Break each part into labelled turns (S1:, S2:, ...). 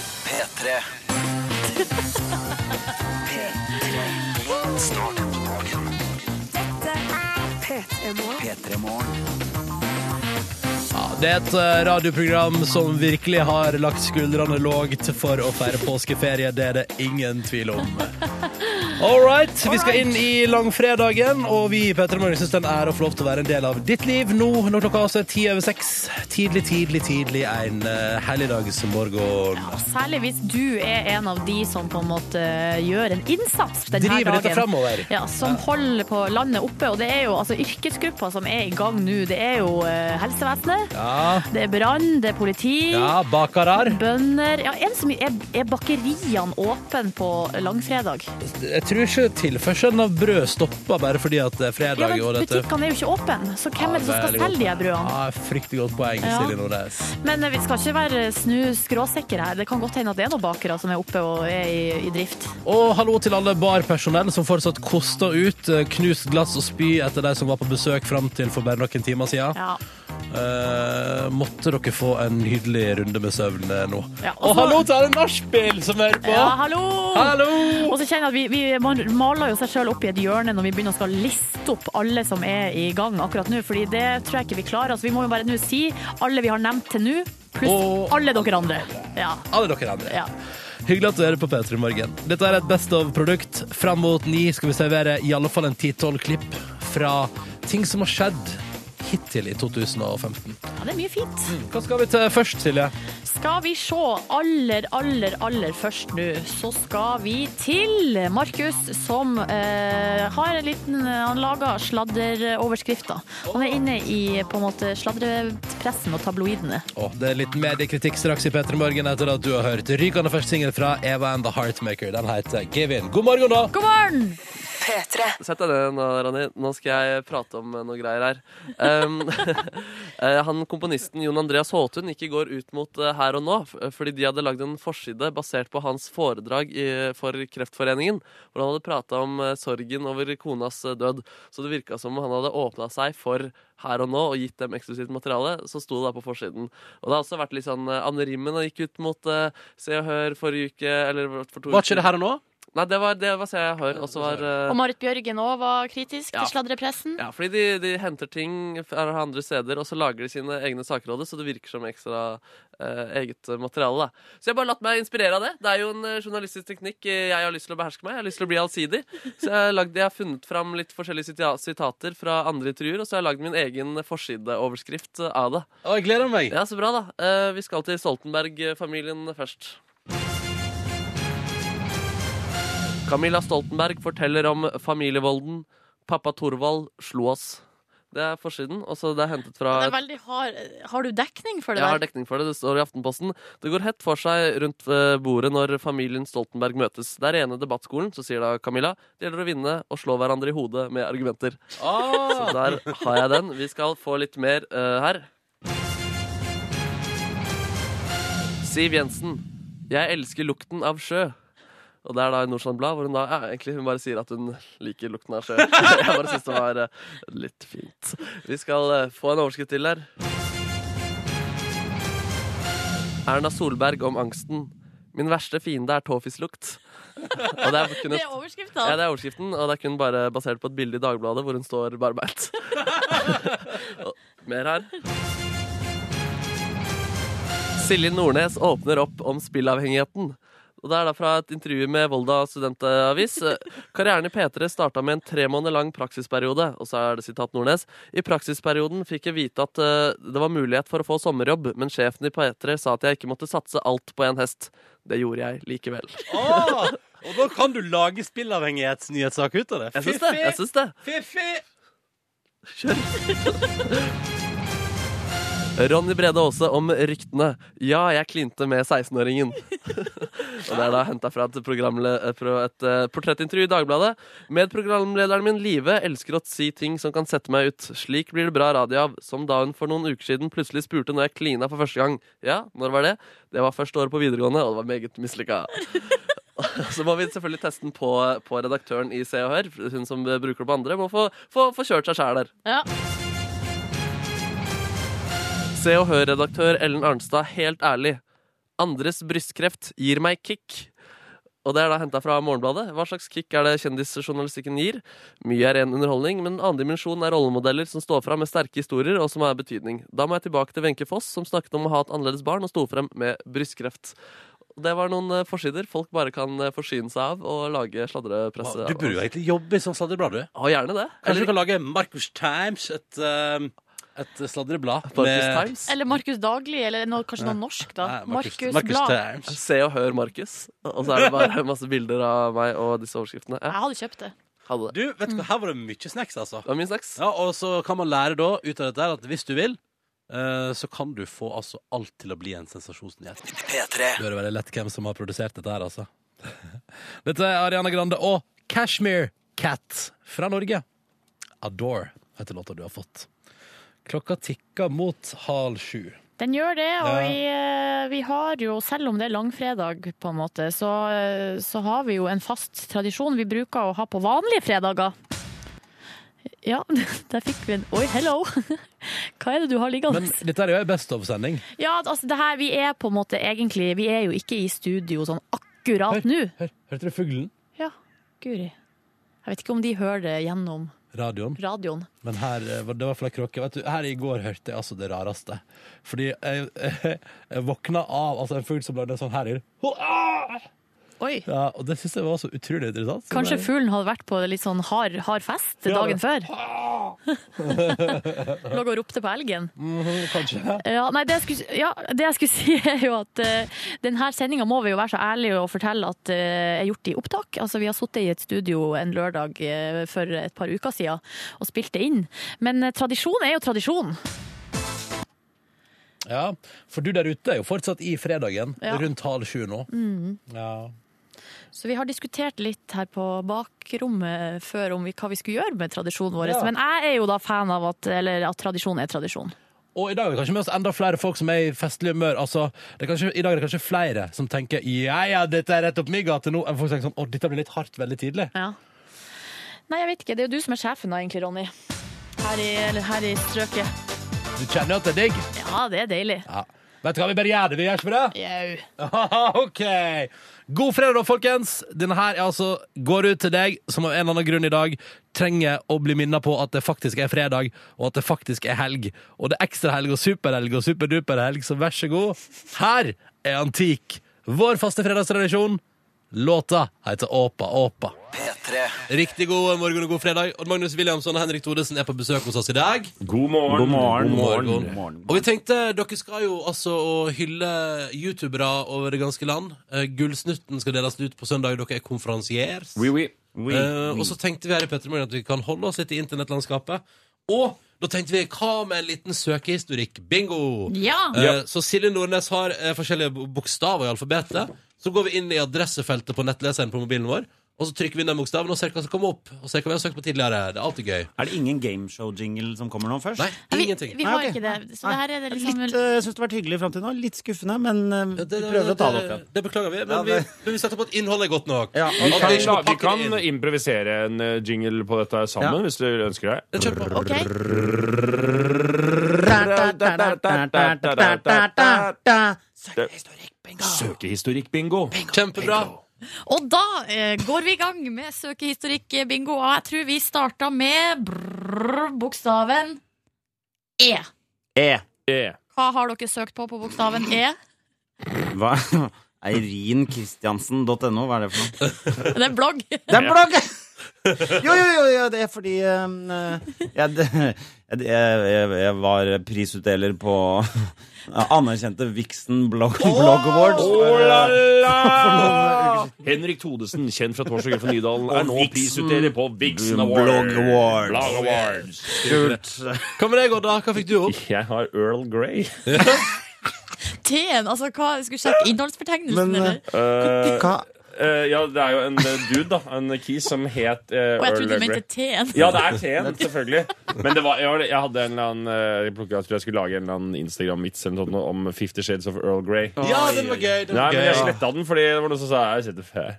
S1: P3. P3. Start dagen. P3 Morgen.
S2: Ja, det er et eh, radioprogram som virkelig har lagt skuldrene lågt for å feire påskeferie. Det er det ingen tvil om. All right, vi skal inn i langfredagen, og vi i Petter Morgen syns det er en ære å få lov til å være en del av ditt liv nå når klokka altså er ti over seks. Tidlig, tidlig, tidlig en uh, helligdagsmorgen.
S3: Og Særlig hvis du er en av de som på en måte gjør en innsats denne
S2: Driver
S3: dagen.
S2: dette fremover.
S3: Ja, som holder på landet oppe. Og det er jo altså, yrkesgrupper som er i gang nå. Det er jo eh, helsevesenet,
S2: Ja,
S3: det er brann, det er politi.
S2: ja bakarar.
S3: Bønder ja, en som er, er bakeriene åpne på langfredag?
S2: Jeg tror ikke tilførselen av brød stopper bare fordi at det er fredag.
S3: Ja, men
S2: og dette...
S3: Butikkene er jo ikke åpne, så hvem er det som
S2: Ja, veldig
S3: skal selge de
S2: godt.
S3: her brødene?
S2: Ja, fryktelig godt poeng,
S3: Ja.
S2: Silje Nordnes.
S3: Men eh, vi skal ikke være snu skråsikre her. Det kan godt hende at det er noen bakere som er oppe og er i, i drift.
S2: Og hallo til alle barpersonell som fortsatt koster ut eh, knust glass og spy etter de som var på besøk fram til for bare noen timer siden.
S3: Ja.
S2: Eh, måtte dere få en nydelig runde med søvn eh, nå.
S3: Ja,
S2: og
S3: og
S4: Altså,
S3: så-
S2: hallo til alle nachspiel som hører på!
S3: ja, hallo!
S2: Hallo!
S3: Og så kjenner jeg at vi, vi man maler jo seg sjøl opp i et hjørne når vi begynner å skal liste opp alle som er i gang akkurat nå, fordi det tror jeg ikke vi klarer. Altså, vi må jo bare nå si alle vi har nevnt til nå, pluss
S2: Og-
S3: alle dere andre. Ja.
S2: Alle dere andre.
S3: ja.
S2: Hyggelig at du hører på P3 Morgen. Dette er et Best of-produkt. Fram mot ni skal vi servere i alle fall en 10-12 klipp fra ting som har skjedd hittil i 2015.
S3: ja, det er mye fint.
S2: Mm, Hva skal vi til først, Silje?
S3: Skal vi se aller, aller, aller først nå, så skal vi til Markus, som eh, har en liten Han lager sladderoverskrifter. Han er inne i på en måte sladrepressen og tabloidene.
S2: Å, det er litt mediekritikk straks i P3 Morgen etter at du har hørt rykende fersk singel fra Eva and The Heartmaker. Den heter Give In. God morgen, da!
S3: God morgen!
S5: Sett deg ned nå, Rani. Nå skal jeg prate om eh, noe greier her. Um, eh, han Komponisten Jon Andreas Håtun gikk i går ut mot eh, Her og Nå f- fordi de hadde lagd en forside basert på hans foredrag i, for Kreftforeningen, hvor han hadde prata om eh, sorgen over konas eh, død. Så det virka som om han hadde åpna seg for her og nå og gitt dem eksklusivt materiale, så sto det da på forsiden. Og det har også vært litt sånn eh, Anne Rimmen har gikk ut mot eh, Se og Hør forrige uke, eller for to
S2: Var ikke det her og nå?
S5: Nei, det var, det var Se og Hør. Og så var eh,
S6: Og Marit Bjørgen òg var kritisk
S5: Ja.
S6: til sladrepressen.
S5: ja, fordi de, de henter ting fra andre steder, og så lager de sine egne saker av det, så det virker som ekstra eh, eget materiale. Da. Så jeg har bare latt meg inspirere av det. Det er jo en eh, journalistisk teknikk eh, jeg har lyst til å beherske meg. Jeg har lyst til å bli allsidig. Så jeg har, lagd, jeg har funnet fram litt forskjellige sita- sitater fra andre intervjuer, og så har jeg lagd min egen forsideoverskrift eh, av det.
S2: Å, jeg gleder meg.
S5: Ja, så bra, da. Eh, vi skal til Stoltenberg-familien først. Camilla Stoltenberg forteller om familievolden. Pappa Thorvald slo oss. Det er forsiden. Og så det er hentet fra
S6: Det er veldig hard. Har du dekning for det
S5: jeg har
S6: der?
S5: dekning for det. Det står i Aftenposten. Det går hett for seg rundt eh, bordet når familien Stoltenberg møtes. Det er rene debattskolen, så sier da Camilla. Det gjelder å vinne og slå hverandre i hodet med argumenter. Så der har jeg den. Vi skal få litt mer eh, her. Siv Jensen. Jeg elsker lukten av sjø. Og det er da i Nordstrand Blad, hvor hun da ja, egentlig hun bare sier at hun liker lukten av sjø. Jeg bare syns det var eh, litt fint. Vi skal eh, få en overskrift til her. Erna Solberg om angsten. Min verste fiende er tåfislukt. Og det er kun
S6: Det
S5: et
S6: er overskrifta.
S5: ja, det er overskriften, og det er kun bare basert på et bilde i Dagbladet hvor hun står barbeint. Og Mer her. Silje Nordnes åpner opp om spillavhengigheten. Og Det er da fra et intervju med Volda studentavis. Karrieren i P3 starta med en tre måneder lang praksisperiode. Og så er det sitat Nordnes. I praksisperioden fikk jeg vite at eh, det var mulighet for å få sommerjobb, men sjefen i P3 sa at jeg ikke måtte satse alt på en hest. Det gjorde jeg likevel. Ah,
S2: Å, og da kan du lage spillavhengighetsnyhetssak ut av det.
S5: Jeg syns det. Jeg syns det.
S2: Fiffi!
S5: Ronny Brede Aase om ryktene. Ja, jeg klinte med 16-åringen. Og det er da henta fra et, programle- eh, pro- et eh, portrettintervju i Dagbladet. Medprogramlederen min, Live, elsker å si ting som kan sette meg ut. Slik blir det bra radio av. Som da hun for noen uker siden plutselig spurte når jeg klina for første gang. Ja, når var det? Det var første året på videregående, og det var meget mislykka. Så må vi selvfølgelig teste den på, på redaktøren i Se og Hør. Hun som bruker det på andre, må få, få, få kjørt seg sjæl der.
S6: Ja.
S5: Se og Hør-redaktør Ellen Arnstad helt ærlig. Andres brystkreft gir meg kick. Og det er da henta fra Morgenbladet. Hva slags kick er det kjendisjournalistikken gir? Mye er ren underholdning, men en annen dimensjon er rollemodeller som står fram med sterke historier, og som har betydning. Da må jeg tilbake til Wenche Foss, som snakket om å ha et annerledes barn, og sto frem med brystkreft. Det var noen eh, forsider folk bare kan eh, forsyne seg av og lage
S2: Wow,
S5: sladrepresse
S2: du burde jo egentlig jobbe i sånn sladreblad, du.
S5: Ha gjerne det.
S2: Kanskje du kan lage Marcus Times, et, ehm, et sladreblad.
S5: Markus Times.
S6: Eller Markus Daglig, eller noe, kanskje noe norsk, da.
S2: Nei, Marcus,
S6: Markus
S2: Marcus
S6: Blad.
S2: Times.
S5: Se og hør Markus. Og så er det bare masse bilder av meg og disse overskriftene.
S6: Jeg
S5: Ja,
S6: hadde kjøpt det.
S5: hadde det.
S2: Du, vet du hva, her var det mye snacks, altså.
S5: Det var mye snacks.
S2: Ja, og så kan man lære da, ut av dette her, at hvis du vil, eh, så kan du få altså alt til å bli en sensasjonsnyhet.
S1: P3
S2: Det er veldig lett hvem som har produsert dette her, altså. Dette er Ariana Grande og Cashmere Cat fra Norge. Adore heter låta du har fått. Klokka tikker mot halv sju.
S3: Den gjør det, og
S2: Ja.
S3: vi, eh, vi har jo, selv om det er langfredag, på en måte, så, eh, så har vi jo en fast tradisjon vi bruker å ha på vanlige fredager. Ja, der fikk vi en Oi, hello! Hva er det du har liggende?
S2: Men dette er jo ei Best of-sending.
S3: Ja, altså, det her, vi er på en måte egentlig Vi er jo ikke i studio sånn akkurat nå.
S2: Hør, hørte du fuglen?
S3: Ja, guri. Jeg vet ikke om de hører det gjennom
S2: Radioen.
S3: radioen.
S2: Men her eh, var det var flere kråker. Vet du, her i går hørte jeg altså det rareste. Fordi jeg, jeg, våkna av altså en fugl som lagde en sånn her lyd. Ho- ah!
S3: Oi.
S2: Ja, og det syns jeg var så utrolig interessant. Så
S3: Kanskje
S2: bare-
S3: fuglen hadde vært på litt sånn hard, hard fest dagen før? Lå og ropte på elgen.
S2: Mhm, Kanskje.
S3: Ja, nei, det, jeg skulle, ja, det jeg skulle si er jo at uh, denne sendinga må vi jo være så ærlige og fortelle at eh, er gjort i opptak. Altså, vi har sittet i et studio en lørdag eh, for et par uker siden og spilt det inn. Men eh, tradisjon er jo tradisjon.
S2: Ja, for du der ute er jo fortsatt i fredagen,
S3: Ja.
S2: rundt halv sju nå.
S3: Mm.
S2: Ja.
S3: Så vi har diskutert litt her på bakrommet før om vi, hva vi skulle gjøre med tradisjonen vår.
S2: Ja.
S3: Men jeg er jo da fan av at, eller, at tradisjon er tradisjon.
S2: Og i dag er det kanskje med oss enda flere folk som er i festlig humør. Altså, det er kanskje, I dag er det kanskje flere som tenker ja, ja, dette er rett opp min gate nå. enn folk tenker sånn, å, dette blir litt hardt veldig tidlig.
S3: Ja. Nei, jeg vet ikke. Det er jo du som er sjefen da, egentlig, Ronny. Her i, eller her i strøket.
S2: Du kjenner jo at det er digg.
S3: Ja, det er deilig.
S2: Ja. Vet du hva, vi bare gjør det. Vi gjør ikke det?
S3: Jau.
S2: OK. God fredag, da, folkens. Denne her er altså, går ut til deg som av en eller annen grunn i dag trenger å bli minna på at det faktisk er fredag, og at det faktisk er helg. Og det er ekstrahelg og superhelg og superduperhelg, så vær så god. Her er Antik, vår faste fredagstradisjon. Låta heter Åpa Åpa.
S1: P3
S2: Riktig god morgen og god fredag. Odd Magnus Williamson og Henrik Thodesen er på besøk hos oss i dag.
S7: God morgen. God morgen.
S2: God morgen. Og vi tenkte, dere skal jo altså å hylle youtubere over det ganske land. Eh, Gullsnutten skal deles ut på søndag, dere er konferansiers.
S7: Oui, oui. Oui,
S2: Eh,
S7: oui.
S2: og så tenkte vi her i Petremorgen at vi kan holde oss litt i internettlandskapet. Og da tenkte vi, hva med en liten søkehistorikk? Bingo!
S3: Ja!
S2: Eh, Så Silje Nordnes har eh, forskjellige bo- bokstaver i alfabetet. Så går vi inn i adressefeltet på nettleseren på mobilen vår, og så trykker vi inn den bokstaven og ser hva som kommer opp. Og ser hva vi har søkt på tidligere. Det er alltid gøy.
S7: Er det ingen gameshow-jingle som kommer nå først?
S2: Nei,
S3: Vi,
S2: ingenting.
S3: vi har
S7: Nei, ok.
S3: ikke det. Så det her er det liksom
S7: Litt, eh, jeg syns det har vært hyggelig fram til nå. Litt skuffende, men
S2: Ja,
S7: eh, vi prøver å ta det opp igjen.
S2: det- Det beklager vi, men,
S7: Ja,
S2: vi,
S7: det-
S2: men vi setter på at innholdet er godt nok.
S7: Ja,
S2: At
S4: Vi
S2: det
S4: kan,
S2: ikke må
S4: vi
S2: pakke
S4: kan
S2: det inn.
S4: improvisere en eh, jingle på dette sammen,
S7: Ja.
S4: hvis du ønsker det.
S2: Kjør på.
S3: OK.
S4: Søkehistorikk-bingo.
S2: Kjempebra.
S6: Og da eh, går vi i gang med søkehistorikk-bingo. Og jeg tror vi starta med brrr, bokstaven E.
S7: E.
S4: E.
S6: Hva har dere søkt på på bokstaven E?
S7: Hva? Eirinchristiansen.no, hva er det for noe?
S6: Det er en blogg.
S7: Det er blogg! Jo, jo, jo, jo, det er fordi um, eh, jeg, det- jeg, jeg, jeg var prisutdeler på anerkjente Vixen Blog, blog Awards.
S4: Oh la la!
S7: For
S4: Henrik Thodesen, kjent fra Torsdag for Nydalen, er nå
S7: Vixen-
S4: prisutdeler på Vixen
S7: Blog
S4: Awards.
S7: Awards.
S4: Blog Awards.
S2: Hva med deg, Odda? Hva fikk du opp?
S4: Jeg har Earl Grey.
S6: T-en, altså hva Skulle sjekke innholdsfortegnelsen,
S7: Men, eh,
S6: eller?
S4: Eh,
S7: Hva?
S4: eh, ja, det er jo en eh, dude, da. En kis som het eh,
S6: Og jeg
S4: Earl
S6: trodde du
S4: Grey.
S6: mente T-en.
S4: Ja, det er teen, selvfølgelig. Men det var, jeg, var- jeg hadde en eller annen eh, Jeg plukket- jeg tror jeg skulle lage en eller annen Instagram-vits eller noe sånt om Fifty Shades of Earl Grey.
S2: Ja, den var gøy. Den
S4: Nei,
S2: var
S4: men jeg
S2: gøy.
S4: sletta den fordi det var noen som sa jeg har sett det før.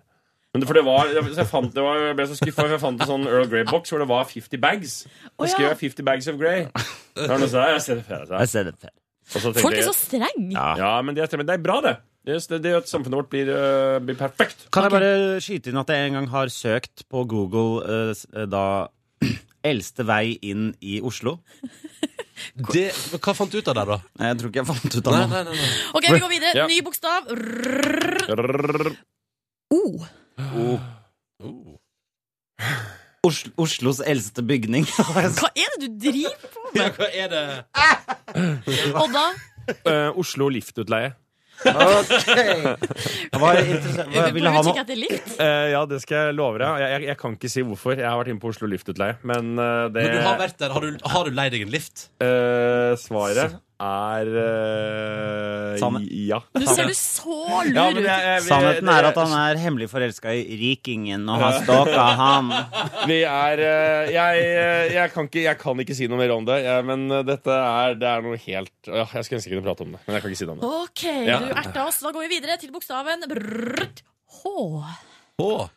S4: Men det, for det var, jeg, så jeg, fant, det var, jeg ble så skuffa, for jeg fant en sånn Earl Grey-boks hvor det var 50 bags.
S6: Å,
S4: Da skrev
S6: ja.
S4: jeg 50 bags of Grey. Da var det noen som sa jeg har sett det før. sa jeg.
S7: Jeg ser det før.
S4: Og så
S6: Folk
S4: tenkte
S6: er så
S4: jeg
S6: strenge!
S4: ja, men det, er- men det er bra, det. Yes, det, det gjør at samfunnet vårt blir, eh, blir perfekt.
S7: Kan jeg bare skyte inn at jeg en gang har søkt på Google eh, s- eh, da Eldste vei inn i Oslo.
S2: Det, hva fant du ut av der, da?
S7: Nei, Jeg tror ikke jeg fant ut av det.
S6: OK, vi går videre.
S4: Ja.
S6: Ny bokstav. Rrrr.
S4: Rrrr.
S6: O.
S7: Os Oslos eldste bygning.
S6: Hva er det du driver
S2: Hva er det?
S6: Og da
S4: Eh, Oslo liftutleie.
S7: Hva er interessant? Hva
S6: Vi
S7: vil jeg
S6: burde
S7: ha
S6: utkikk
S7: noe?
S6: etter lift.
S4: Eh, ja, det skal jeg love deg. Jeg, jeg, jeg kan ikke si hvorfor. Jeg har vært inne på Oslo liftutleie. Men eh, det
S2: Men du har vært der. Har du, har du leid deg en lift?
S4: eh, svaret er eh,
S7: Sanne.
S4: Ja.
S6: Nå ser du så
S4: Ja,
S6: lur
S4: men
S6: ut.
S4: jeg- jeg- vi-
S7: Sannheten er
S4: det-
S7: at han er hemmelig forelska i rikingen og har stalka han.
S4: Vi er eh, jeg, eh, jeg, kan ikke, jeg kan ikke si noe mer om det, jeg, men eh, dette er, det er noe helt ja, Jeg skulle ønske jeg kunne prate om det, men jeg kan ikke si det om det.
S6: OK,
S4: Ja.
S6: du erta oss. Da går vi videre til bokstaven brrrt. H.
S2: Åh.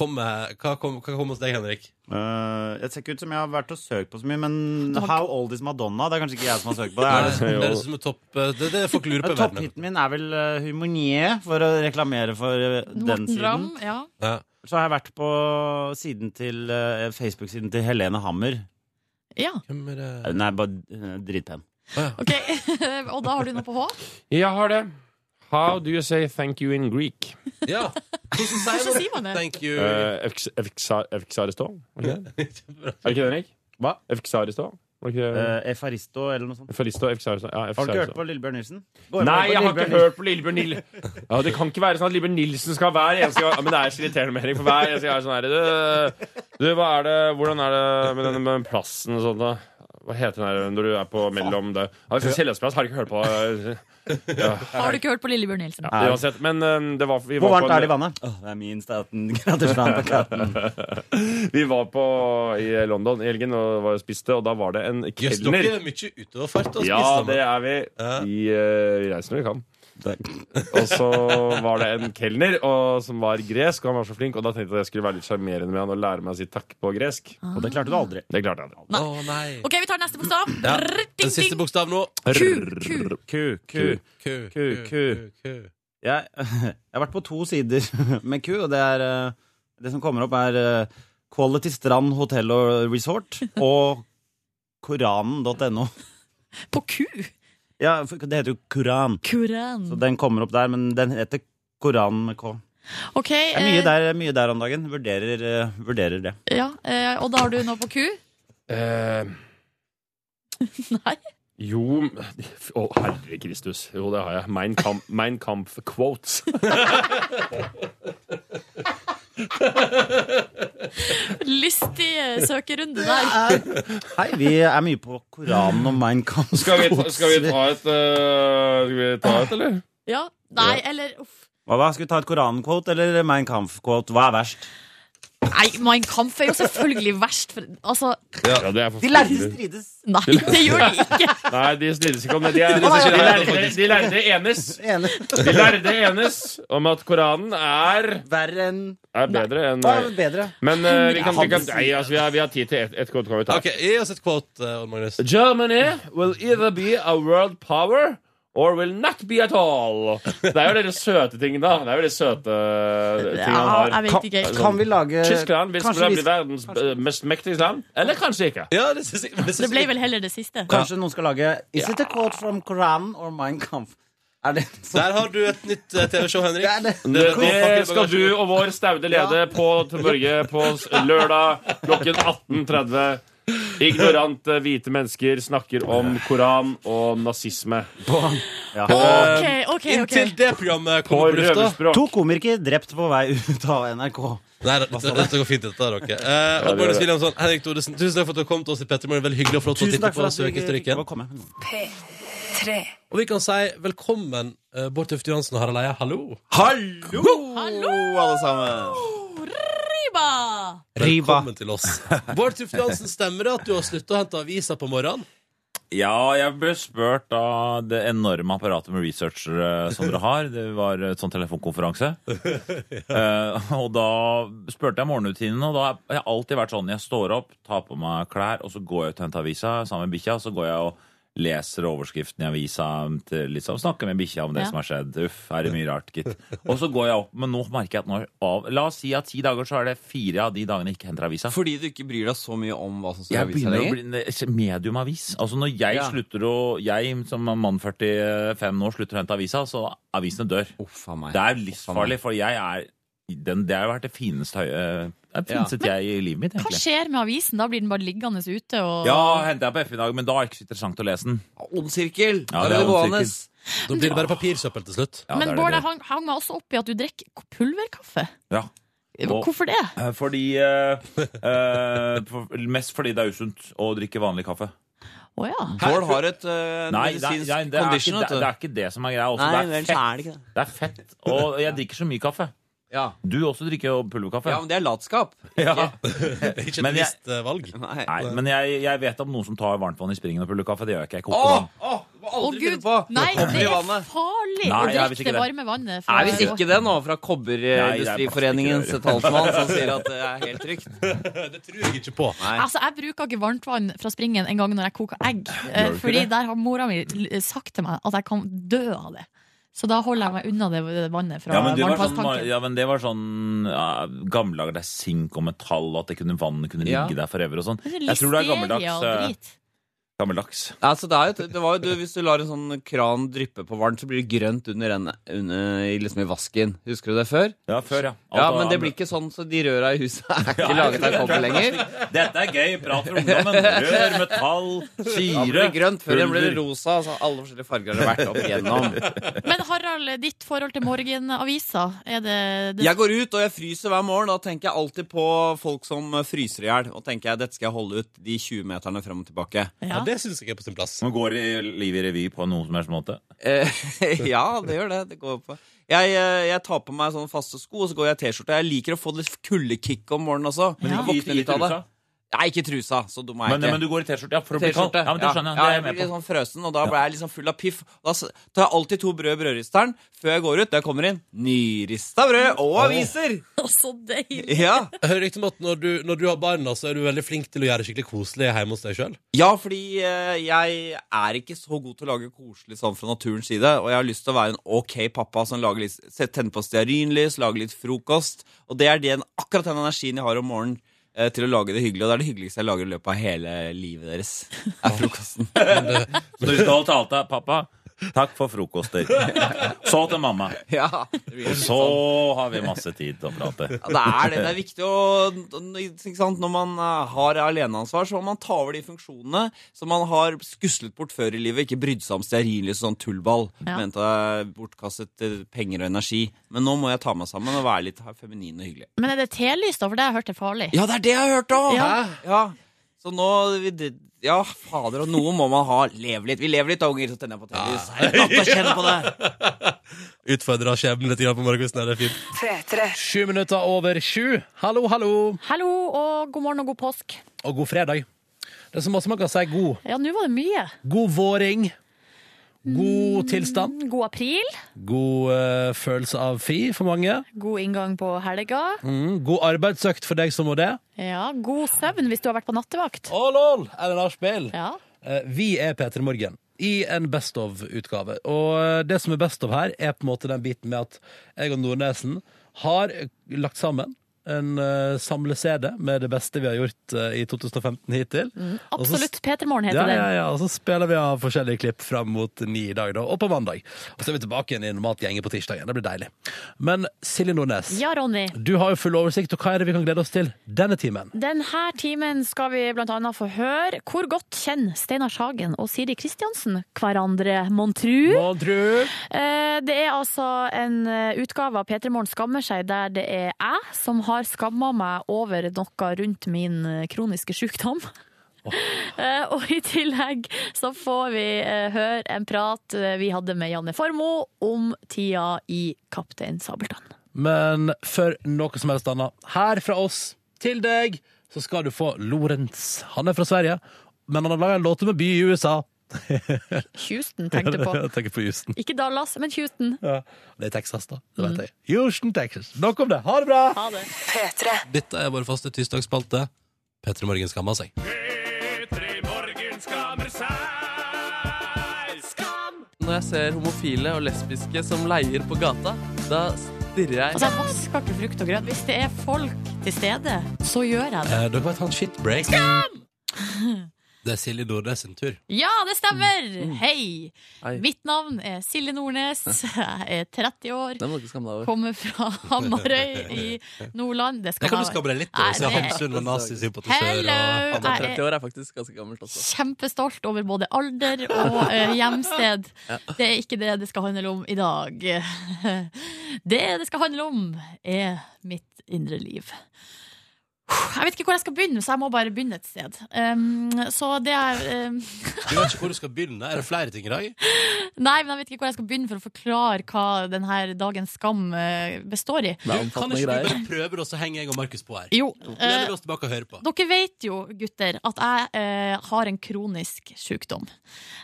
S2: Kom, med- hva kom, hva kom hos deg, Henrik?
S7: Eh, jeg ser ikke ut som jeg har vært og søkt på så mye, men How Old Is Madonna? Det er kanskje ikke jeg som har søkt på det.
S2: Nei,
S7: Er det
S2: det høres ut som en topp eh, Det, det folk lurer på i verden.
S7: Topphiten min er vel uh, Humornier, for å reklamere for eh, den
S6: Morten
S7: siden.
S6: Ramm. Ja.
S2: Ja.
S7: Så har jeg vært på siden til eh, Facebook-siden til Helene Hammer.
S6: ja.
S2: Hvem er det?
S7: Hun er bare eh, dritpen.
S6: OK. Og da har du noe på H?
S4: Jeg har det. How do you say thank you in Greek?
S2: Ja. Hvordan
S6: Hvordan sier man
S2: man
S6: det?
S2: Thank you.
S4: Eh, Evksaristo? Var det ikke det, Henrik? Hva? Evksaristo? Var det ikke det?
S7: Eh, Efaristo eller noe sånt.
S4: Efaristo, Evksaristo Ja,
S7: Har du ikke hørt
S4: Evksaristo.
S7: på Lillebjørn Nilsen? Går
S4: Nei,
S7: du
S4: jeg har
S7: på Lillebjørn
S4: ikke hørt på Lillebjørn Nil ja, Det kan ikke være sånn at Lillebjørn Nilsen skal hver eneste gang ja, Men det er så irriterende med Erik, for hver eneste gang er det sånn her du, du, hva er det, hvordan er det med den med den plassen og sånn da? Hva heter den her når du er på mellom det? Ja, det er Kjelløsplass, har du ikke hørt på det?
S6: Har du ikke hørt på Lillebjørn Nilsen?
S4: Ja, uansett, men um, det var, vi,
S7: Hvor
S4: var på
S7: varmt
S4: en,
S7: er det i vannet? Åh, det er minst 18 grader varmt på katten.
S4: vi var på i London i helgen og var og spiste, og da var det en
S2: Jøss, dere
S4: kelner
S2: er mye utoverfart og altså,
S4: Ja,
S2: spiser.
S4: det er vi Vi, eh, vi reiser når vi kan Og så var det en kelner og, som var gresk, og han var så flink. Og da tenkte jeg at jeg skulle være litt sjarmerende med han og lære meg å si takk på gresk.
S7: Og det klarte du aldri.
S4: Det klarte jeg. aldri.
S2: Å nei.
S6: OK, vi tar neste bokstav.
S2: Ja.
S6: Brrr,
S2: Den
S6: ding,
S2: siste
S6: ding.
S2: bokstav nå.
S6: Q. Q.
S7: Ku, ku.
S2: Ku.
S7: Ku, ku. Jeg, jeg har vært på to sider med ku, og det er eh, Det som kommer opp, er eh, Quality Strand Hotel og Resort og koranen.no.
S6: På Q.
S7: Ja, for det heter jo Koran. Så
S6: Kuran.
S7: den kommer opp der, men den heter Koranen med K.
S6: OK.
S7: Det er mye
S6: eh,
S7: der, mye der om dagen. Vurderer, eh, vurderer det.
S6: Ja, eh, og da har du noe på Q?
S4: Eh,
S6: Nei.
S4: jo Å, herre Kristus. Jo, det har jeg. Mein Kampf, mein Kampf quotes.
S6: Lystig eh, søkerunde der.
S7: Hei, vi er mye på Koranen og Mein Kampf.
S4: Skal vi, ta- skal vi ta et eh, Skal vi ta et, eller?
S6: Ja. Nei, eller uff.
S7: Hva, hva, skal vi ta et Koranen-quote eller Mein Kampf-quote? Hva er verst?
S6: Nei, Mein Kampf er jo selvfølgelig verst. For, altså,
S4: Ja, det er for
S7: De lærde
S4: forferdelig.
S7: strides.
S6: nei, det gjør de ikke.
S4: Nei, de strides ikke om det. De, er, de,
S2: strides ikke.
S4: lærde, de lærde enes.
S7: Enig.
S4: De lærde enes om at Koranen er,
S7: Verre enn
S4: er bedre enn
S7: Hva er bedre?
S4: Men eh, vi kan, vi kan Nei, altså, vi har, vi har tid til ett et kort. Kan vi ta.
S2: OK, gi oss et quote, eh, Odd Magnus.
S4: Germany will either be a world power or will not be at all. Det er jo dere søte tingene, da. Det er jo de søte tingene
S6: Ja,
S4: han
S6: jeg
S4: har.
S6: vet ikke.
S7: Kan vi lage
S4: Tyskland vil
S7: kanskje,
S4: skulle
S7: vi-
S4: bli verdens eh, mest mektigste land. Eller kanskje ikke.
S2: Ja, det synes jeg, men det synes
S6: Det ble
S2: jeg-
S6: vel heller det siste.
S7: kanskje noen skal lage Is it a quote from Koranen or Mein Kampf? Er det sånn?
S2: Der har du et nytt eh, TV-show, Henrik.
S7: Det er det.
S4: Det,
S2: er-
S4: det skal du og vår staude leder på Børge på s- lørdag klokken 18.30. Ignorante eh, hvite mennesker snakker om Koran og nazisme.
S6: OK, OK. ok
S2: Inntil det programmet
S4: På
S2: kommer på lufta.
S4: røverspråk.
S7: To komikere drept på vei ut av NRK.
S2: Nei, dette, dette går fint, dette, dere. Eh,
S4: Ja,
S2: og
S4: det
S2: Magnus
S4: gjør det.
S2: Williamson, Henrik Thodesen, tusen takk for at du kom til oss i Petter Morgen. Veldig hyggelig å få lov til å
S7: Tusen
S2: titte
S7: takk for
S2: på
S7: at du
S2: søkehistorikken.
S7: fikk komme.
S1: P3
S2: Og vi kan si velkommen, eh, Bård Tufte Johansen og Harald Eia. Hallo!
S7: Hallo, alle sammen.
S6: Riba!
S7: Riva.
S2: Velkommen til oss. Bård Tufte Johansen, stemmer det at du har slutta å hente aviser på morgenen?
S8: Ja, jeg ble spurt av det enorme apparatet med researchere eh, som dere har. Det var et sånn telefonkonferanse. Eh, og da spurte jeg morgenrutinene, og da har jeg alltid vært sånn Jeg står opp, tar på meg klær, og så går jeg ut og henter avisa sammen med bikkja, og så går jeg og Leser overskriften i avisa, til liksom, snakker med bikkja om det
S3: Ja.
S8: som har skjedd. Uff, er det mye rart, gitt. Og så går jeg opp, men nå merker jeg at nå er av La oss si at ti dager så er det fire av de dagene jeg ikke henter avisa.
S9: Fordi du ikke bryr deg så mye om hva som står i
S8: Jeg
S9: avisa
S8: begynner å
S9: lenger?
S8: bli ne- mediumavis. Altså når jeg
S9: Ja.
S8: slutter å Jeg som er mann 45 nå slutter å hente avisa, så avisene dør.
S9: Uff a meg.
S8: Det er livsfarlig, for jeg er den, Det har vært det fineste, høye- det fineste jeg i livet mitt,
S3: Hva
S8: egentlig.
S3: skjer med avisen? Da blir den bare liggende ute og
S8: Ja, henter jeg på ettermiddag, men da er det ikke så interessant å lese den.
S9: Ond sirkel!
S8: Ja,
S9: det
S8: det er
S9: er
S8: ond
S9: gående.
S2: Da blir det bare papirsøppel til slutt.
S8: Ja,
S3: Men
S8: det er
S3: Bård,
S8: det.
S3: jeg hang, hang meg også opp i at du drikker pulverkaffe.
S8: Ja. Og-
S3: Hvorfor det?
S8: Eh, Fordi eh, eh, for, Mest fordi det er usunt å drikke vanlig kaffe.
S3: Å ja.
S9: Bård har et øh,
S8: Nei, det, er-
S9: medisinsk
S8: nei, det, er, ikke,
S9: condition,
S8: det,
S9: vet
S8: det
S9: du.
S8: er ikke det som er greia. Også,
S9: Nei,
S8: det, er
S9: vel, så
S8: fett,
S9: er det ikke det.
S8: det er fett. Og jeg drikker så mye kaffe.
S9: Ja.
S8: Du også drikker jo pulverkaffe.
S9: ja, men det er latskap.
S2: Ikke et
S8: Men jeg-
S2: bevisst eh, valg.
S9: Nei.
S8: Nei, men jeg, jeg vet om noen som tar varmtvann i springen og pulverkaffe. Det gjør jeg ikke. Jeg
S9: Å,
S8: koker vann.
S9: å, det var
S3: Å
S9: aldri
S3: gud,
S9: funnet på!
S3: nei, det
S9: i
S3: er
S9: vannet.
S3: farlig
S8: Nei,
S3: å
S8: jeg visste
S3: drikke
S8: ikke
S3: det
S9: det.
S3: varme vannet. fra-
S9: Er visst ikke det nå fra Kobberindustriforeningens
S8: Nei, det er
S9: talsmann som sier at det er helt trygt?
S2: Det tror jeg ikke på.
S9: Nei.
S3: Altså, Jeg bruker ikke varmtvann fra springen en gang når jeg koker egg. eh,
S8: Gjør du ikke
S3: Fordi
S8: det?
S3: der har mora mi l- eh, sagt til meg at jeg kan dø av det. Så da holder jeg meg unna det vannet fra
S8: Ja men, det var sånn,
S3: varmtvannstanken.
S8: ja, men det var sånn ja, gamle dager der sink og metall og at det kunne, vannet kunne
S9: Ja.
S8: ligge der forever og sånn.
S3: Det er
S8: Jeg tror det
S3: listeria
S8: er
S3: og
S8: gammeldags, eh,
S3: drit.
S8: Gammeldags.
S9: Altså, det er jo, et- det var jo, du, hvis du lar en sånn kran dryppe på varmt, så blir det grønt under, en, under i- liksom i vasken. Husker du det før?
S8: Ja, før, ja.
S9: Ja, men det blir ikke sånn, så de røra i huset er ikke laget av kobber lenger.
S8: Dette er gøy prat for ungdommen. Rør, metall,
S9: Da blir det
S8: syre.
S9: grønt, før det blir det
S8: Pulver.
S9: rosa. Altså, alle forskjellige farger har det vært opp igjennom.
S3: Men Harald, ditt forhold til morgenavisa, er det, det
S9: Jeg går ut, og jeg fryser hver morgen. Da tenker jeg alltid på folk som fryser i hjel. Og tenker jeg, dette skal jeg holde ut de 20 meterne frem og tilbake.
S2: Ja,
S3: ja.
S2: det syns jeg er på sin plass.
S8: Nå går i- livet i revy på noen som helst måte.
S9: Eh, ja, det gjør det. Det går på. Jeg, eh, jeg tar på meg sånne faste sko, og så går jeg i T-skjorte. Jeg liker å få litt kuldekick om morgenen også.
S8: Men
S9: Jeg
S8: ikke
S9: våkner
S8: i- i
S9: litt av det.
S8: trusa.
S9: Nei, ikke trusa. Så dum er jeg
S8: Men,
S9: ikke.
S8: men du går i T-skjorte, ja, for å bli kald.
S9: T-skjorte.
S8: Ja, men det skjønner jeg.
S9: Ja,
S8: Det er
S9: jeg
S8: jeg
S9: blir
S8: med
S9: litt
S8: på.
S9: sånn frøsen, og da ble jeg liksom full av piff. Da s- tar jeg alltid to brød i brødristeren før jeg går ut. Når jeg kommer inn, nyrista brød og aviser!
S3: Så deilig!
S9: Ja,
S2: Jeg hører riktig om at når du, når du har barna, så er du veldig flink til å gjøre det skikkelig koselig hjemme hos deg sjøl.
S9: ja fordi eh, jeg er ikke så god til å lage koselig sånn fra naturens side, og jeg har lyst til å være en ok pappa som lager litt, set- tenner på stearinlys, lager litt frokost, og det er den, akkurat den energien jeg har om morgenen eh, til å lage det hyggelig, og det er det hyggeligste jeg lager i løpet av hele livet deres, er frokosten.
S8: Så hvis du holdt talt deg, pappa, takk for frokoster. Så til mamma.
S9: Ja, det blir litt
S8: Så
S9: sånn.
S8: har vi masse tid til å prate.
S9: Ja, det er det. Det er viktig å ikke sant? Når man eh, har aleneansvar, så må man ta over de funksjonene som man har skuslet bort før i livet. Ikke brydd seg om stearinlys og sånn tullball.
S3: Ja.
S9: Mente jeg bortkastet eh, penger og energi. Men nå må jeg ta meg sammen og være litt feminin og hyggelig.
S3: Men er det telys, da? For det har jeg hørt er farlig.
S9: Ja, det er det jeg har hørt òg!
S3: Eh. Ja.
S9: Ja. Så nå vi d- Ja, fader, og noe må man ha. Lev litt. Vi lever litt, da, unger. Så tenner jeg på telys. Er det godt å kjenne på det.
S2: Utfordra skjebnen litt grann på morgenkvisten. Det er fint. Sju minutter over sju. Hallo, hallo.
S3: Hallo og god morgen og god påsk.
S2: Og god fredag. Det er så masse man kan si god.
S3: Ja, nå var det mye.
S2: God våring. God tilstand.
S3: God april,
S2: God eh, følelse av fri for mange.
S3: god inngang på helga.
S2: Mm, god arbeidsøkt for deg som må det.
S3: Ja, god søvn hvis du har vært på nattevakt.
S2: Å, lol! Ellen Arspill.
S3: Ja.
S2: Eh, Vi er P3 Morgen i en Best of-utgave. Og eh, det som er best of her, er på en måte den biten med at jeg og Nordnesen har eh, lagt sammen en uh, samle-CD med det beste vi har gjort eh, i 2015 hittil. Og så-
S3: Mm, Absolutt. Peter Morgen
S2: ja,
S3: heter
S2: ja,
S3: den.
S2: ja, og så spiller vi av forskjellige klipp fram mot ni i dag, da, og på mandag. Og så er vi tilbake igjen i normalt gjenge på tirsdag. Det blir deilig. Men Silje Nordnes,
S3: Ja, Ronny.
S2: du har jo full oversikt, og hva er det vi kan glede oss til denne timen?
S3: Denne timen skal vi bl.a. få høre hvor godt kjenner Steinar Sagen og Siri Kristiansen hverandre, mon tru?
S2: Må tru.
S3: Eh, Det er altså en eh, utgave av P3 Morgen skammer seg, der det er jeg som har skamma meg over noe rundt min eh, kroniske sykdom. Eh, Og i tillegg så får vi eh, høre en prat eh, vi hadde med Janne Formoe om tida i Kaptein Sabeltann.
S2: Men for noe som helst annet, her fra oss til deg, så skal du få Lorentz. Han er fra Sverige, men han har laga en låt med by i USA.
S3: Houston tenkte jeg på.
S2: Jeg tenker på Houston.
S3: Ikke Dallas, men Houston.
S2: Det er Texas, da. Det
S3: Mhm.
S2: vet jeg. Houston, Texas. Nok om det. Ha det bra!
S3: Ha det.
S2: Dette er vår faste tirsdagsspalte. Petter Morgen skammer seg.
S1: P3 Morgen skammer seg.
S5: Når jeg ser homofile og lesbiske som leier på gata, da stirrer jeg
S3: Altså, jeg vasker ikke frukt og grønt. Hvis det er folk til stede, så gjør jeg det.
S2: Eh, dere må ta en shitbreak. Det er Silje Nordnes sin tur.
S3: Ja, det stemmer! Hei!
S5: Hei.
S3: Mitt navn er Silje Nordnes. Jeg er 30 år.
S5: Det må du ikke skamme deg over.
S3: Kommer fra Hamarøy i Nordland. Det
S2: Det
S3: skal
S2: kan du
S3: jeg-
S2: skabre deg litt
S3: Nei,
S2: over. Se
S3: det-
S2: Hamsun var nazisympatisør.
S3: Hello!
S2: og-
S3: Jeg er
S5: 30 år er faktisk ganske gammelt også.
S3: kjempestolt over både alder og eh, hjemsted. Det er ikke det det skal handle om i dag. Det det skal handle om, er mitt indre liv. Jeg vet ikke hvor jeg skal begynne, så jeg må bare begynne et sted. Um, så det er um,
S2: Du vet ikke hvor du skal begynne. Er det flere ting i dag?
S3: Nei, men jeg vet ikke hvor jeg skal begynne for å forklare hva denne dagens skam eh, består i.
S5: Det er
S2: Du, Kan
S5: omfattende
S2: ikke du
S5: greier.
S2: bare prøve det, og så henger jeg og Markus på her?
S3: Jo, eh,
S2: Lener vi oss tilbake og hører på.
S3: Dere vet jo, gutter, at jeg eh, har en kronisk sykdom.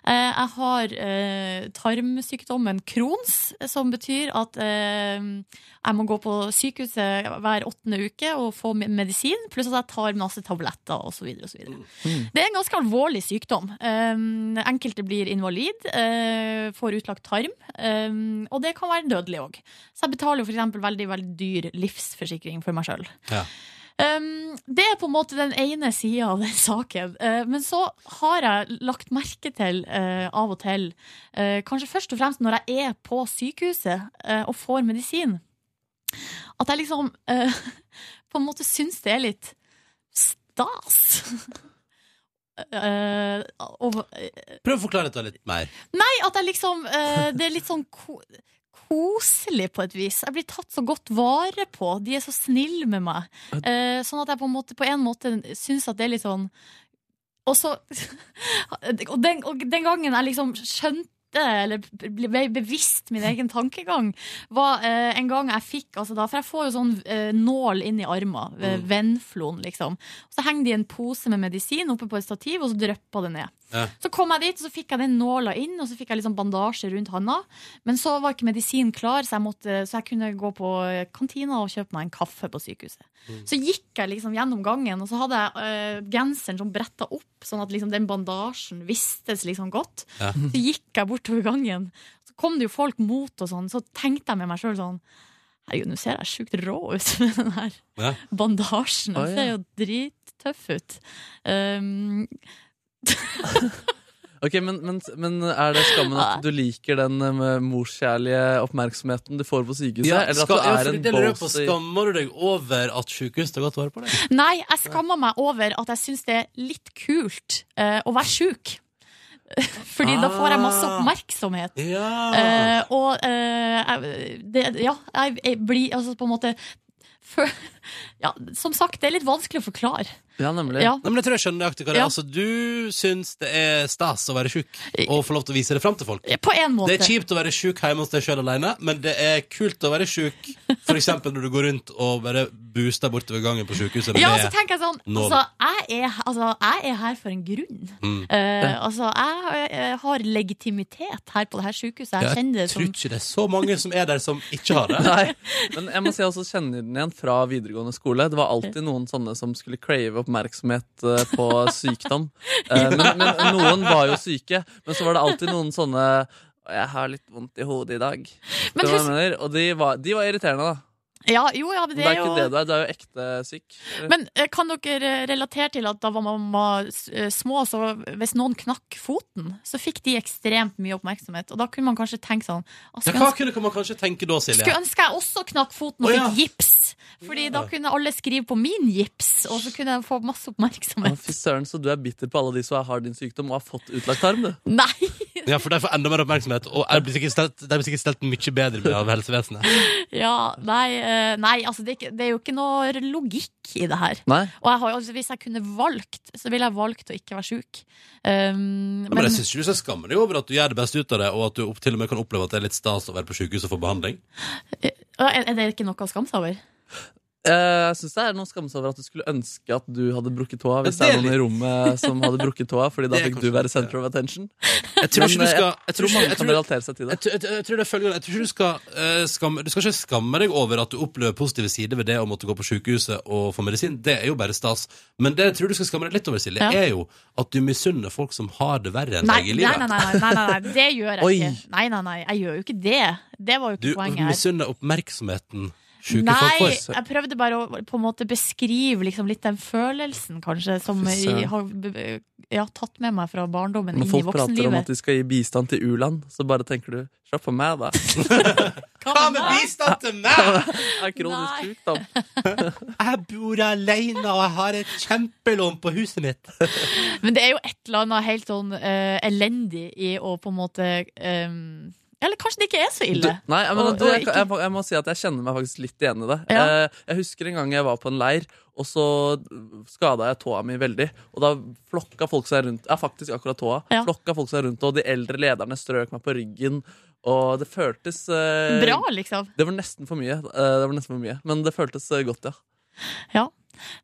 S3: Eh, jeg har eh, tarmsykdommen Crohns, som betyr at eh, jeg må gå på sykehuset hver åttende uke og få me- medisin, pluss at jeg tar masse tabletter osv. Det er en ganske alvorlig sykdom. Eh, enkelte blir invalid, eh, får utlagt tarm, eh, og det kan være dødelig òg. Så jeg betaler jo f.eks. veldig, veldig dyr livsforsikring for meg sjøl. Um, det er på en måte den ene sida av den saken. Eh, men så har jeg lagt merke til eh, av og til, eh, kanskje først og fremst når jeg er på sykehuset eh, og får medisin, at jeg liksom eh, på en måte syns det er litt stas. Eh, over-
S2: Prøv å forklare dette litt mer.
S3: Nei, at jeg liksom eh, Det er litt sånn ko koselig på et vis. Jeg blir tatt så godt vare på. De er så snille med meg. Eh, sånn at jeg på en måte, på en måte syns at det er litt sånn Og så og den, og den gangen jeg liksom skjønte eller ble bevisst min egen tankegang, var eh, en gang jeg fikk altså da, For jeg får jo sånn eh, nål inn i armen, eh, vennflon, liksom. Så henger det i en pose med medisin oppe på et stativ, og så drypper det ned. Så kom jeg dit, og så fikk jeg den nåla inn, og så fikk jeg liksom bandasje rundt handa. Men så var ikke medisin klar, så jeg, måtte, så jeg kunne gå på kantina og kjøpe meg en kaffe på sykehuset.
S10: Mm.
S2: Mm.
S3: Så gikk jeg liksom gjennom gangen, og så hadde jeg øh, genseren som bretta opp, sånn at liksom den bandasjen vistes liksom godt.
S2: Ja.
S3: Så gikk jeg bortover gangen. Så kom det jo folk mot og sånn, så tenkte jeg med meg sjøl sånn Herregud, nå ser jeg sjukt rå ut med den her
S2: Ja.
S3: bandasjen.
S5: Å,
S3: Jeg
S5: ja.
S3: ser jo drittøff ut. Um,
S5: Ok, men, men, men er det skammen at du liker den eh, med morskjærlige oppmerksomheten du får på sykehuset? eller
S2: skal- ja,
S5: at du
S2: fordi
S5: er en
S2: det lurer jeg på,
S5: bossy
S2: Skammer du deg over at sjukehuset tar godt vare på deg?
S3: Nei, jeg skammer meg over at jeg syns det er litt kult eh, å være sjuk. Fordi da får jeg masse oppmerksomhet.
S2: Ja.
S3: Eh, og eh, jeg, det, ja, jeg, jeg blir altså på en måte fø- ja, Som sagt, det er litt vanskelig å forklare.
S5: Ja, nemlig.
S3: Ja.
S2: Nei, men jeg tror jeg skjønner nøyaktig hva det er.
S3: Ja.
S2: Altså, du syns det er stas å være sjuk og få lov til å vise det fram til folk.
S3: På én måte.
S2: Det er kjipt å være sjuk hjemme hos deg sjøl aleine, men det er kult å være sjuk f.eks. når du går rundt og bare booster bortover gangen på sjukehuset.
S3: Ja,
S2: med-
S3: så tenker jeg sånn
S2: Nål.
S3: altså jeg, er, altså, jeg er her for en grunn.
S2: Mm.
S3: Eh, altså, jeg, eh, har legitimitet her på det her sykehuset. Jeg kjenner det
S2: jeg tror
S3: som
S2: ikke det er så mange som er der som ikke har det.
S5: Nei, men jeg må si jeg også kjenner den igjen fra videregående skole. Det var alltid noen sånne som skulle crave oppmerksomhet eh, på sykdom. Eh, Men, men noen var jo syke. Men så var det alltid noen sånne Jeg har litt vondt i hodet i dag.
S3: Men
S5: Det var
S3: husk-
S5: jeg mener, og de var, de var irriterende, da.
S3: ja, jo, ja, men
S5: Men
S3: det
S5: det
S3: er
S5: er
S3: jo
S5: ikke det du er. Du er jo ekte syk.
S2: Mm.
S3: Men eh, kan dere eh, relatere til at da var mamma s- eh, små, så hvis noen knakk foten, så fikk de ekstremt mye oppmerksomhet. Og da kunne man kanskje tenke sånn «Å,
S2: Ja,
S3: Skulle
S2: hva
S3: ønske,
S2: kunne man kanskje tenke da, Silje?
S3: skulle ønske jeg også knakk foten og
S2: Å, ja.
S3: fikk gips! Fordi da kunne alle skrive på min gips, og så kunne jeg få masse
S5: Å,
S3: oppmerksomhet.
S5: Fy søren, så du er bitter på alle de som har din sykdom og har fått utlagt tarm, du.
S3: Nei!
S2: Ja, for de får enda mer oppmerksomhet, og de blir sikkert stelt, de blir sikkert stelt mye bedre med av helsevesenet.
S3: Ja, nei, eh, nei altså det er, ikke, det er jo ikke noe logikk i det her.
S5: Nei.
S3: Og jeg har, jo- altså, hvis jeg kunne valgt, så ville jeg valgt å ikke være sjuk. Um,
S2: Ja, Men, jeg syns ikke du skal skamme deg over at du gjør det beste ut av det, og at du opp- til og med kan oppleve at det er litt stas å være på sykehus og få behandling.
S3: er er det ikke noe å skamme seg over?
S5: Eh, Jeg synes det er noe å skamme seg over at du skulle ønske at du hadde brukket tåa. Hvis det
S2: Ja,
S5: er
S2: det er
S5: noen i rommet som hadde brukket tåa, Fordi da
S2: Det er
S5: fikk du
S2: kanskje-
S5: være center of attention.
S2: Jeg tror ikke
S5: Men,
S2: du
S5: eh,
S2: skal Jeg
S5: Jeg tror
S2: ikke-
S5: mange
S2: jeg
S5: kan
S2: tror-
S5: relatere seg til
S2: Jeg,
S5: det.
S2: tror- jeg, tror- jeg tror det er følgende Jeg tror ikke du skal, eh, skamme, du skal ikke skamme deg over at du opplever positive sider ved det å måtte gå på sykehuset og få medisin. Det er jo bare stas. Men det jeg tror du skal skamme deg litt over, Silje,
S3: Ja.
S2: er jo at du misunner folk som har det verre enn
S3: Nei,
S2: deg i
S3: nei,
S2: livet.
S3: nei, nei, nei, nei, nei, det gjør jeg
S5: Oi.
S3: ikke. Nei, nei, nei, jeg gjør jo ikke det. Det var jo ikke
S2: Du
S3: poenget her.
S2: misunner oppmerksomheten sjuke folk
S3: Nei,
S2: får.
S3: jeg prøvde bare å på en måte beskrive liksom litt den følelsen, kanskje, som
S5: Fy søren.
S3: jeg har b- b- ja, tatt med meg fra barndommen
S5: Når
S3: inn i
S5: folk prater om at
S3: voksenlivet.
S5: de skal gi bistand til u-land, så bare tenker du Slapp av meg, da. Det
S3: Hva med meg?
S2: bistand til meg?!
S5: er kronisk
S3: Nei.
S5: sykdom.
S2: Jeg bor aleine, og jeg har et kjempelån på huset mitt.
S3: Men det er jo et eller annet helt sånn eh, elendig i å på en måte eh, Eller kanskje det ikke er så ille.
S5: Nei, men,
S3: Og-
S5: du,
S3: og
S5: jeg,
S3: ikke-
S5: jeg, må- jeg må si at jeg kjenner meg faktisk litt igjen i det.
S3: Ja.
S5: Eh, Jeg husker en gang jeg var på en leir, og så skada jeg tåa mi veldig. Og da flokka folk seg rundt Ja, faktisk akkurat tåa.
S3: Ja.
S5: Flokka folk seg rundt, og de eldre lederne strøk meg på ryggen. Og det føltes eh,
S3: Bra, liksom.
S5: Det var nesten for mye. eh, Det var nesten for mye Men det føltes eh, godt, ja.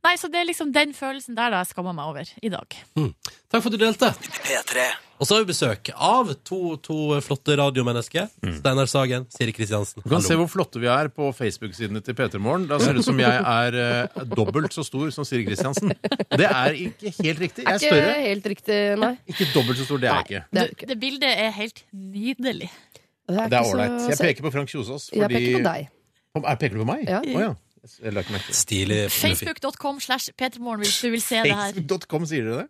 S3: Nei, så det er liksom den følelsen der da jeg skammer meg over i dag.
S2: Takk for at du delte.
S1: P3
S2: Og så har vi besøk av to, to flotte radiomennesker. Steinar Sagen, Siri Kristiansen.
S11: Du kan se
S2: Hallo.
S11: hvor flotte vi er på Facebook-sidene til P3 Morgen. Da ser det ut som jeg er eh, dobbelt så stor som Siri Kristiansen. Det er ikke helt riktig. Jeg er
S10: Ikke
S11: større.
S10: helt riktig, nei.
S11: Ikke dobbelt så stor, det er jeg ikke.
S10: Det
S3: Det,
S10: er ikke.
S3: det bildet er helt nydelig.
S11: Det er
S10: ikke så-
S11: ålreit. Jeg
S10: så-
S11: peker på Frank Kjosås fordi
S10: Jeg peker på deg.
S11: Er- Peker du på meg?
S10: Ja.
S11: Å ja. Jeg la ikke merke til det.
S2: Stilig. fotografi.
S3: Facebook.com slash Petermorgen hvis du vil se det her.
S11: Facebook.com, sier dere det?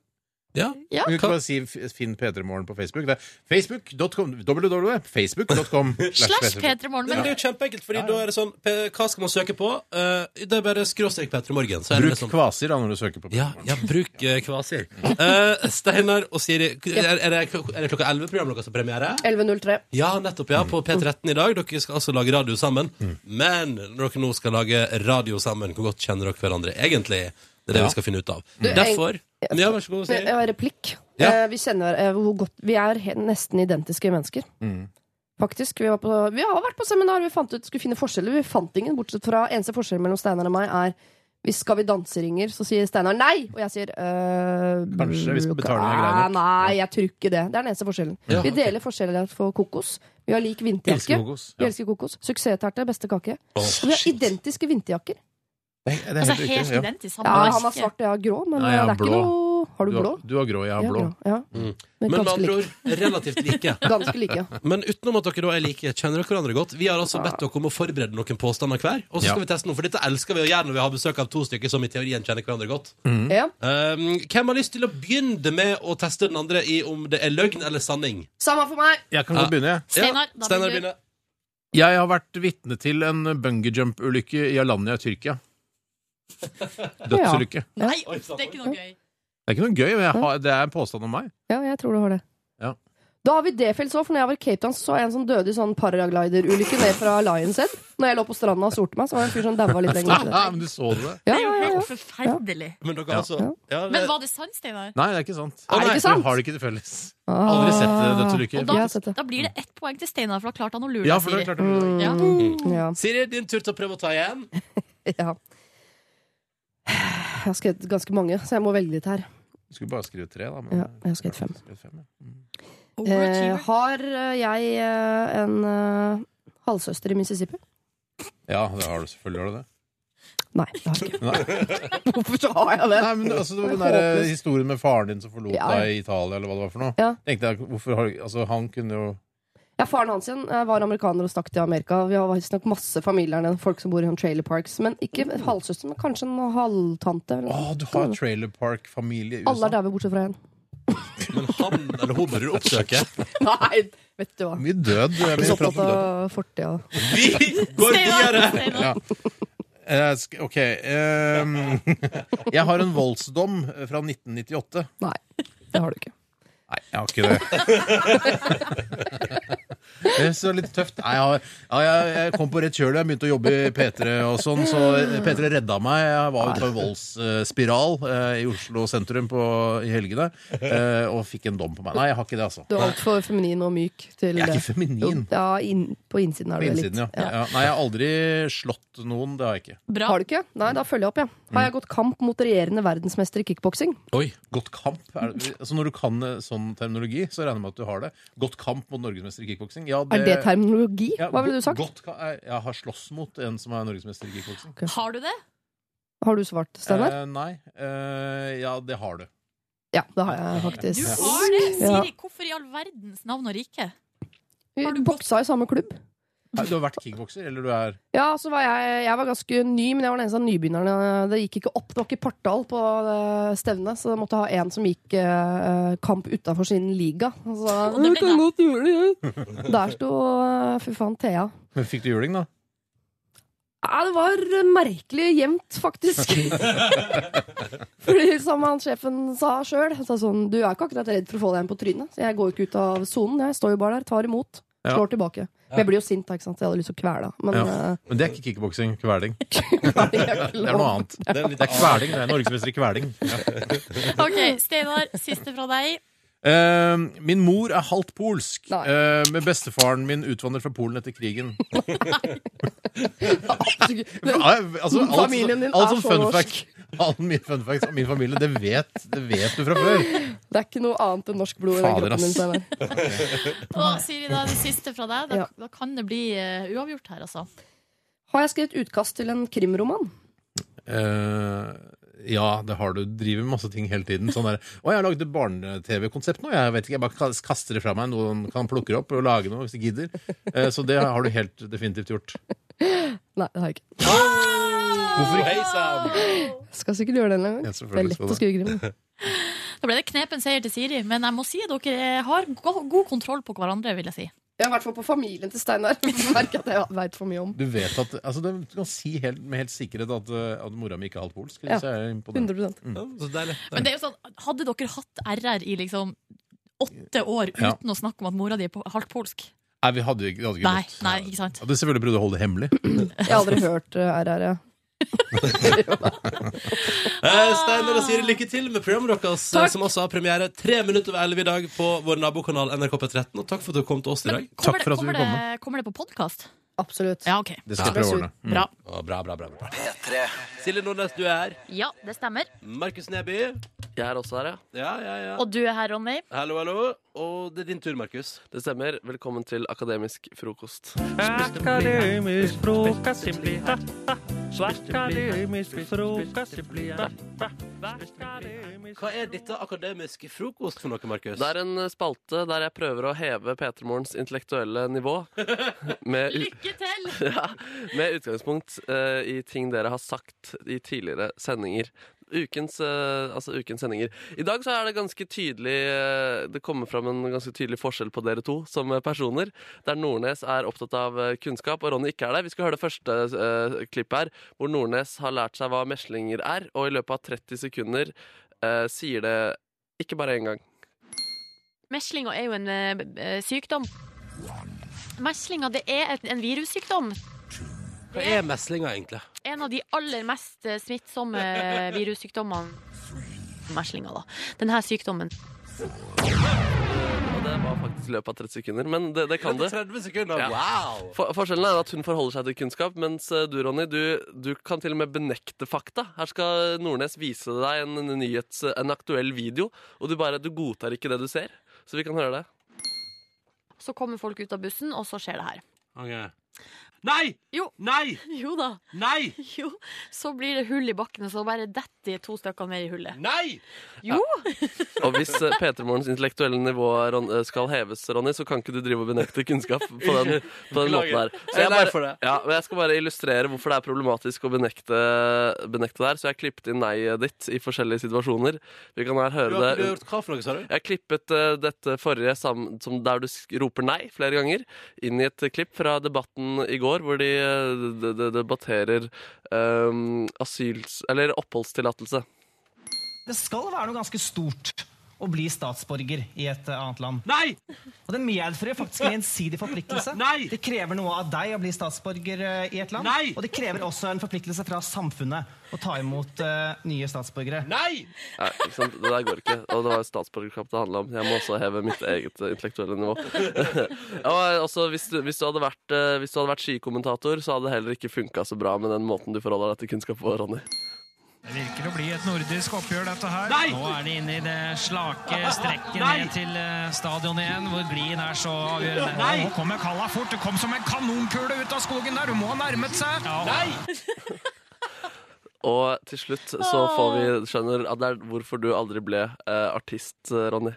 S2: Ja.
S3: Ja.
S11: Du kan ikke bare si f- Finn P3 Morgen på Facebook. Det er facebook.com www.facebook.com
S3: Slash Petermorgen.
S2: Men
S3: Men
S2: det er jo kjempeenkelt, fordi da er det sånn P- Hva skal man søke på? Eh, det er bare skråstrek Petter Morgen. Så er det
S11: Bruk
S2: liksom,
S11: kvasir da når du søker på P3
S2: ja,
S11: Morgen.
S2: ja, bruk eh, kvasir. Eh, Steinar og Siri, er, er, det, er det klokka 11 programmet deres har premiere?
S10: 11.03.
S2: Ja, nettopp, ja. På P13 i dag. Dere skal altså lage radio sammen.
S11: Mm.
S2: Men når dere nå skal lage radio sammen, hvor godt kjenner dere hverandre egentlig? Det er det vi skal finne ut av.
S11: Mm.
S2: Derfor Ja, vær så god,
S10: Jeg
S2: Siri.
S10: har replikk.
S2: Ja.
S10: Eh, Vi kjenner eh, hvor godt Vi er he- nesten identiske mennesker.
S11: Mm.
S10: Faktisk. Vi, var på, vi har vært på seminar, vi fant ut, skulle finne forskjeller. Vi fant ingen, bortsett fra eneste forskjell mellom Steinar og meg er hvis skal vi danse-ringer, så sier Steinar nei! Og jeg sier øh,
S11: Kanskje, hvis betalingen er grei
S10: nei,
S11: nok.
S10: nei, jeg tror ikke det. Det er den eneste forskjellen.
S2: Ja,
S10: vi
S2: ok.
S10: deler forskjeller for kokos. Vi har lik
S11: Elsker
S10: vinterjakke.
S11: kokos.
S10: Vi
S11: Ja.
S10: elsker kokos. Suksessterte, beste kake.
S2: Åh,
S10: Og vi har identiske vinterjakker.
S11: Det er- det er
S3: altså,
S11: helt
S3: helt
S11: riktig, ja.
S3: identisk.
S10: Ja,
S3: har
S10: han har
S3: ikke-
S10: svart, og jeg har grå, men eh,
S11: Nei, jeg har
S10: det er ikke
S11: blå.
S10: noe Har du
S11: Du
S10: blå?
S11: har, du har grå, jeg har
S10: Ja,
S11: blå.
S10: grå, Ja.
S2: Mm.
S10: Men
S2: Men med
S10: ganske
S2: andre
S10: like.
S2: ord relativt like.
S10: Ganske like.
S2: Men utenom at dere da er like, kjenner dere hverandre godt. Vi har altså bedt dere om å forberede noen påstander hver. Og så skal
S11: Ja.
S2: vi teste noe, for dette elsker vi å gjøre når vi har besøk av to stykker som i teorien kjenner hverandre godt.
S11: Mm.
S10: Ja.
S2: Um, hvem har lyst til å begynne med å teste den andre i om det er løgn eller sanning?
S10: Samme for meg!
S11: Jeg kan
S2: Ja.
S11: godt begynne, jeg.
S3: Steinar, da
S2: Steinar
S3: vil du-
S2: begynner.
S11: Jeg har vært vitne til en bungee jump-ulykke i Alanya i Tyrkia. Dødsulykke.
S3: Nei, det er ikke noe gøy.
S11: Det er ikke noe gøy, men jeg har, det er en påstand om meg.
S10: Ja, jeg tror du har det.
S11: Ja.
S10: Da har vi det felles òg, for når jeg var i Cape Town, så så jeg en som døde i sånn paragliderulykke ned fra Lions Head. Når jeg lå på stranda og solte meg, så var det en fyr som daua litt lenger.
S11: Ja, Ah, men du så det?
S10: Ja,
S3: Det er
S10: ja,
S3: jo
S10: ja, ja.
S3: helt forferdelig.
S2: Men dere
S11: Ja.
S2: altså
S10: Ja.
S2: ja, det,
S3: Men var det sant, Steinar?
S11: Nei, det er ikke sant.
S10: Er det
S11: Nei,
S10: ikke
S11: Vi
S10: sant?
S11: har det ikke til felles.
S10: Ah.
S11: Aldri sett eh,
S3: Og
S11: dødsulykker.
S10: Jeg
S3: da,
S10: har sett det.
S3: da blir det ett poeng til Steinar, for da klarte han å lure
S11: Ja,
S3: deg,
S11: for det
S3: Siri.
S11: er klart. det er-
S10: Ja. Ja.
S2: Mm. Siri, din tur til å prøve å ta igjen.
S10: ja. Jeg har skrevet ganske mange, så jeg må velge litt her.
S11: Du skulle bare skrive tre, da. Men...
S10: Ja, jeg har skrevet fem.
S11: Skrevet fem, ja. Mm.
S10: Eh,
S3: Overachiever.
S10: har eh, jeg eh, en eh, halvsøster i Mississippi?
S11: Ja, det har du selvfølgelig. Har du det.
S10: Nei, det har jeg ikke.
S11: Nei,
S10: Hvorfor så har jeg det?
S11: Nei men altså, det var den der eh, historien med faren din som forlot
S10: Ja.
S11: deg i Italia, eller hva det var for noe.
S10: Ja.
S11: Tenkte jeg, hvorfor har Altså, han kunne jo
S10: Ja, Faren hans igjen eh, var amerikaner og stakk til Amerika. Vi har visstnok masse familier der nede, folk som bor i sånn trailer parks. Men ikke halvsøster, men kanskje en halvtante. Eller
S11: Å,
S10: noe.
S11: du har trailer park-familie i
S10: Alle
S11: USA.
S10: er daue bortsett fra én.
S2: Men han eller hun burde du oppsøke.
S10: Nei, vet du hva.
S11: Mye død. det er
S10: Vi
S11: Mye
S10: så
S11: prat
S10: opptatt
S11: om død.
S10: av fortida.
S2: Vi går videre!
S3: Steinar.
S11: Ja. Eh, sk- OK ehm, Jeg har en voldsdom fra 1998.
S10: Nei, det har du ikke.
S11: Nei, jeg har ikke det. Eh, Så litt tøft. Nei, jeg, har- ja, jeg, jeg kom på rett kjøl. Jeg begynte å jobbe i P3 og sånn, så P3 redda meg. Jeg var ute på en voldsspiral eh, i Oslo sentrum på, i helgene eh, og fikk en dom på meg. Nei, jeg har ikke det, altså.
S10: Du er altfor feminin og myk til
S11: Jeg er
S10: det.
S11: ikke feminin.
S10: Jo, Ja, inn, på
S11: På
S10: innsiden har du det litt.
S11: innsiden, ja. ja. Nei, jeg har aldri slått noen. Det har jeg ikke.
S3: Bra.
S10: Har du ikke? Nei, da følger jeg opp, Ja.
S11: Mm.
S10: Har jeg gått kamp mot regjerende verdensmester i kickboksing?
S11: Oi, Godt kamp? Er det, altså når du kan eh, sånn terminologi, så regner jeg med at du har det. Godt kamp mot norgesmester i kickboksing. Ja,
S10: Er det terminologi?
S11: ja,
S10: Hva ville du sagt?
S11: Godt, ka- jeg, jeg har slåss mot en som er norgesmester i kickboksing.
S10: Mm.
S3: Har du det?
S10: Har du svart, Steinar?
S11: Eh, nei. Eh, ja, det har du.
S10: Ja, det har jeg
S3: Du
S10: faktisk.
S3: har det?
S10: Ja.
S3: Siri, hvorfor i all verdens navn og rike?
S10: Vi
S3: Har du gått-
S10: boksa i samme klubb.
S11: Nei, Du har vært kickbokser, eller du er
S10: Ja, så var jeg, jeg var ganske ny, men jeg var den eneste av nybegynnerne. Det gikk ikke opp. Det var ikke partall på eh, stevnet, så jeg måtte ha en som gikk eh, kamp utafor sin liga. Og så,
S3: Og det ble
S10: jeg kan godt gjøre det, jeg. Der sto eh, fy faen Thea.
S11: Men fikk du juling, da?
S10: Ja, det var merkelig jevnt, faktisk. Fordi som han sjefen sa sjøl, sa sånn Du er ikke akkurat redd for å få deg en på trynet. Så jeg går jo ikke ut av sonen. Jeg står jo bare der, tar imot,
S11: Ja.
S10: slår tilbake. Men jeg blir jo sint, da, ikke sant? så jeg hadde lyst til å kvele henne. Men
S11: Ja. Men det er ikke kickboksing. Kveling. Det
S10: eh, det er ikke
S11: er
S10: lov.
S11: noe annet. Det er, kveling. Det er norgesmester i kveling.
S3: OK, Steinar, siste fra deg.
S11: Eh, min mor er halvt polsk,
S10: Nei.
S11: eh, men bestefaren min utvandret fra Polen etter krigen.
S10: Men-
S11: Ja, altså, alt,
S10: Familien din
S11: alt
S10: er
S11: som
S10: så
S11: fun
S10: norsk.
S11: fact, All min fun facts om min familie, det vet, det vet du fra før.
S10: Det er ikke noe annet enn norsk blod i den
S11: Fader,
S10: kroppen din.
S11: ass.
S10: Steinar.
S3: Og Siri, da er det siste fra deg. Da,
S10: Ja.
S3: da kan det bli eh, uavgjort her, altså.
S10: Har jeg skrevet utkast til en krimroman?
S11: Eh, ja, det har du. Driver med masse ting hele tiden. Sånn der, å, jeg har lagd et barne-TV-konsept nå. Jeg vet ikke, jeg bare kas- kaster det fra meg. Noen kan plukke det opp og lage noe hvis de gidder. Eh, så det har du helt definitivt gjort.
S10: Nei, det har jeg ikke.
S11: Ah! Hvorfor ikke?
S10: Jeg skal sikkert gjøre det en gang.
S11: Ja,
S10: Det er
S11: selvfølgelig
S10: lett
S11: skal
S10: å
S11: du.
S10: skrive krim.
S3: Da ble det knepen seier til Siri, men jeg må si at dere har go god kontroll på hverandre, vil jeg si.
S10: Ja, I hvert fall på familien til Steinar. Jeg merker at jeg veit for mye om.
S11: Du vet at, altså, det- du kan si helt, med helt sikkerhet at, eh, at mora mi ikke er halvt polsk.
S10: Ja.
S11: Så jeg er imponert. Mm.
S10: 100
S2: Så deilig.
S3: Men det er jo sånn, hadde dere hatt RR i liksom åtte år uten
S11: Ja.
S3: å snakke om at mora di er po- halvt polsk?
S11: Nei, vi hadde, jo ikke- det hadde ikke
S3: Nei,
S11: gått.
S3: nei, ikke sant?
S11: Hadde selvfølgelig prøvd å holde det hemmelig.
S10: Jeg har aldri hørt eh, RR. jeg.
S2: Eh, Steinar og Siri, lykke til med programmet deres, eh, som også har premiere tre minutter over elleve i dag på vår nabokanal NRK P13. Og takk for at du kom til oss i dag.
S11: Takk
S3: Kommer
S11: for at
S3: det,
S11: du
S3: kommer
S11: vil
S3: det,
S11: komme.
S3: kommer det på podkast?
S10: Absolutt.
S3: Ja, OK.
S11: Det skal jeg Mm. prøve å ordne.
S3: Bra.
S2: Å, bra, bra, bra, bra. Silje Nordnes, du er her.
S3: Ja, det stemmer.
S2: Markus Neby.
S5: Jeg er også her, ja.
S2: Ja, ja, ja.
S3: Og du er her, Ronny.
S2: Hallo, hallo. Og det er din tur, Markus.
S5: Det stemmer. Velkommen til Akademisk frokost.
S2: Hva er dette akademisk frokost for noe, Markus?
S5: Det er en eh, spalte der jeg prøver å heve P3morgens intellektuelle nivå. Med, u-
S3: Lykke til!
S5: ja, med utgangspunkt eh, i ting dere har sagt i tidligere sendinger. Ukens, eh, altså ukens sendinger. I dag så er det ganske tydelig eh, Det kommer fram en ganske tydelig forskjell på dere to som eh, personer. Der Nordnes er opptatt av eh, kunnskap, og Ronny ikke er det. Vi skal høre det første eh, klippet her, hvor Nordnes har lært seg hva meslinger er, og i løpet av 30 sekunder eh, sier det ikke bare én gang.
S6: Meslinga er jo en eh, b- eh, sykdom. Meslinga det er et, en virussykdom.
S2: Hva er meslinga, egentlig?
S6: En av de aller mest eh, smittsomme virussykdommene. Meslinga, da. Denne sykdommen.
S5: Det var faktisk i løpet av 30 sekunder, men det, det kan du.
S2: 30 sekunder.
S5: Ja.
S2: Wow!
S5: For, forskjellen er at hun forholder seg til kunnskap, mens eh, du, Ronny, du, du kan til og med benekte fakta. Her skal Nordnes vise deg en, en, nyhets, en aktuell video, og du bare du godtar ikke det du ser. Så vi kan høre det.
S6: Så kommer folk ut av bussen, og så skjer det her.
S2: Nei!
S6: Jo.
S2: Nei!
S6: Jo da.
S2: Nei!
S6: Jo. Så blir det hull i bakken, og så bare detter de to stykker ned i hullet.
S2: Nei!
S5: Og hvis eh, P3morgens intellektuelle nivå Ron, eh, skal heves, Ronny, så kan ikke du drive og benekte kunnskap på den, på den måten
S2: Beklager.
S5: her.
S2: Jeg er lei
S5: bare-
S2: for det.
S5: Ja, men jeg skal bare illustrere hvorfor det er problematisk å benekte, benekte det her. Så jeg har klippet inn nei-et ditt i forskjellige situasjoner. Vi kan her
S2: Du har,
S5: høre det.
S2: du har gjort hva for noe, sa du?
S5: Jeg klippet eh, dette forrige sammen, som der du sk- roper nei flere ganger, inn i et klipp fra debatten i går, hvor de, eh, de, de debatterer um, asyls... Eller oppholdstillatelse.
S1: Det skal være noe ganske stort
S12: å bli statsborger i et eh, annet land. Og det medfører faktisk en gjensidig forpliktelse. Det krever noe av deg å bli statsborger eh, i et land. Og det krever også en forpliktelse fra samfunnet å ta imot eh, nye statsborgere.
S5: Nei, ikke sant? Det der går ikke. Og det var jo statsborgerskap det handla om. Jeg må også heve mitt eget eh, intellektuelle nivå. ja, og også, hvis, du, hvis, du hadde vært, eh, hvis du hadde vært skikommentator, så hadde det heller ikke funka så bra med den måten du forholder deg til kunnskap på, Ronny.
S12: Det virker å bli et nordisk oppgjør, dette her. Nå er de inne i det slake strekket ned til eh, stadion igjen, hvor glien er så avgjørende. Nå kommer Kalla fort. Det kom som en kanonkule ut av skogen der. Du må ha nærmet seg.
S5: Og til slutt så får vi skjønner at det er hvorfor du aldri ble eh, artist, eh, Ronny.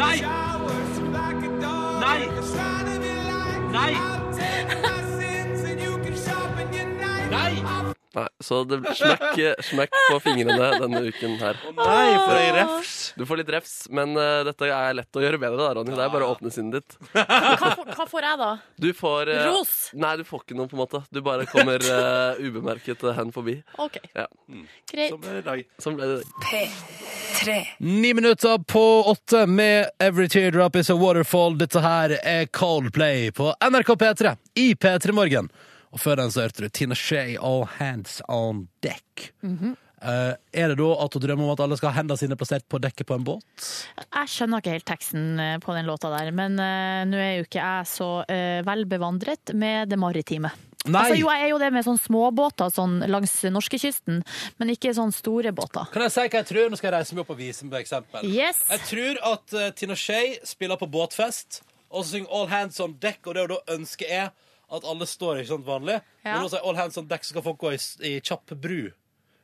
S12: Nei! Nei! Nei! Nei!
S5: Nei, så det blir smekk, eh, smekk på fingrene denne uken her.
S7: Nei, for ei refs!
S5: Du får litt refs, men eh, dette er lett å gjøre bedre, da, Ronny. Det er bare å åpne sinnet ditt.
S3: Hva, får- hva får jeg, da?
S5: Du får eh,
S3: Ros?
S5: Nei, du får ikke noe, på en måte. Du bare kommer eh, ubemerket eh, hen forbi.
S3: OK.
S5: Ja.
S2: Mm.
S3: Greit.
S7: Som er i dag.
S5: Sånn ble det.
S2: Ni minutter på åtte med Every Teardrop Is A Waterfall. Dette her er Coldplay på NRK P3 i P3 Morgen. Og før den så hørte du Tina Shay All Hands On Deck.
S3: Mhm.
S2: Eh, er det da at hun drømmer om at alle skal ha hendene sine plassert på dekket på en båt?
S3: Jeg skjønner ikke helt teksten eh, på den låta der, men eh, nå er jo ikke jeg så uh, vel bevandret med det maritime.
S2: Nei!
S3: Altså, jo, jeg er jo det med sånne småbåter sånn langs norskekysten, men ikke sånne store båter.
S2: Kan jeg si hva jeg tror? Nå skal jeg reise meg opp og vise meg eksempel.
S3: Yes!
S2: Jeg tror at eh, Tina Shay spiller på båtfest og så synger All Hands On Deck, og det hun da ønsker er at alle står ikke sant vanlig.
S3: Ja.
S2: Men hun sier All Hands On Deck, så skal folk gå i, s- i kjapp bru.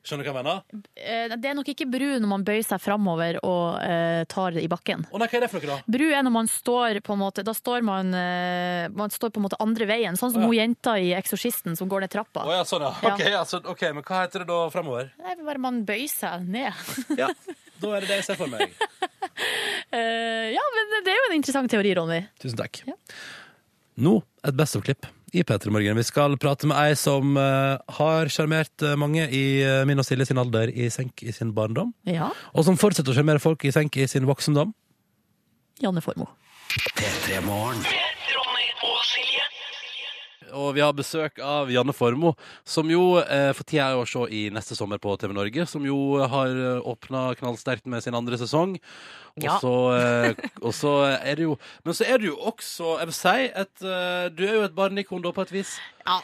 S2: Skjønner du hva jeg mener?
S3: Eh, Det er nok ikke bru når man bøyer seg framover og eh, tar i bakken.
S2: Å nei, hva er det for noe, da?
S3: Bru er når man står på en måte Da står man, eh, man står på en måte andre veien, sånn
S2: Å,
S3: som
S2: ja.
S3: hun jenta i Eksorsisten som går ned trappa.
S2: Å ja, sånn, ja.
S3: Ja.
S2: Ok, ja, så- ok, Men hva heter det da fremover?
S3: Det er bare man bøyer seg ned.
S2: Ja. Da er det det jeg ser for meg.
S3: Eh, ja, men det er jo en interessant teori, Ronny.
S2: Tusen takk.
S3: Ja.
S2: Nå et Best of-klipp i P3 Morgen. Vi skal prate med ei som eh, har sjarmert eh, mange i eh, min og Silje sin alder i senk i sin barndom.
S3: Ja,
S2: Og som fortsetter å sjarmere folk i senk i sin voksendom.
S3: Janne Formoe.
S1: P3 Morgen.
S2: Og vi har besøk av Janne Formoe, som jo eh, for tida er å se i neste sommer på TV Norge. Som jo eh, har åpna knallsterkt med sin andre sesong. Og,
S3: Ja.
S2: så, eh, og så er det jo Men så er du jo også, jeg vil si, et, eh, du er jo et barneikon da, på et vis.
S6: Ja.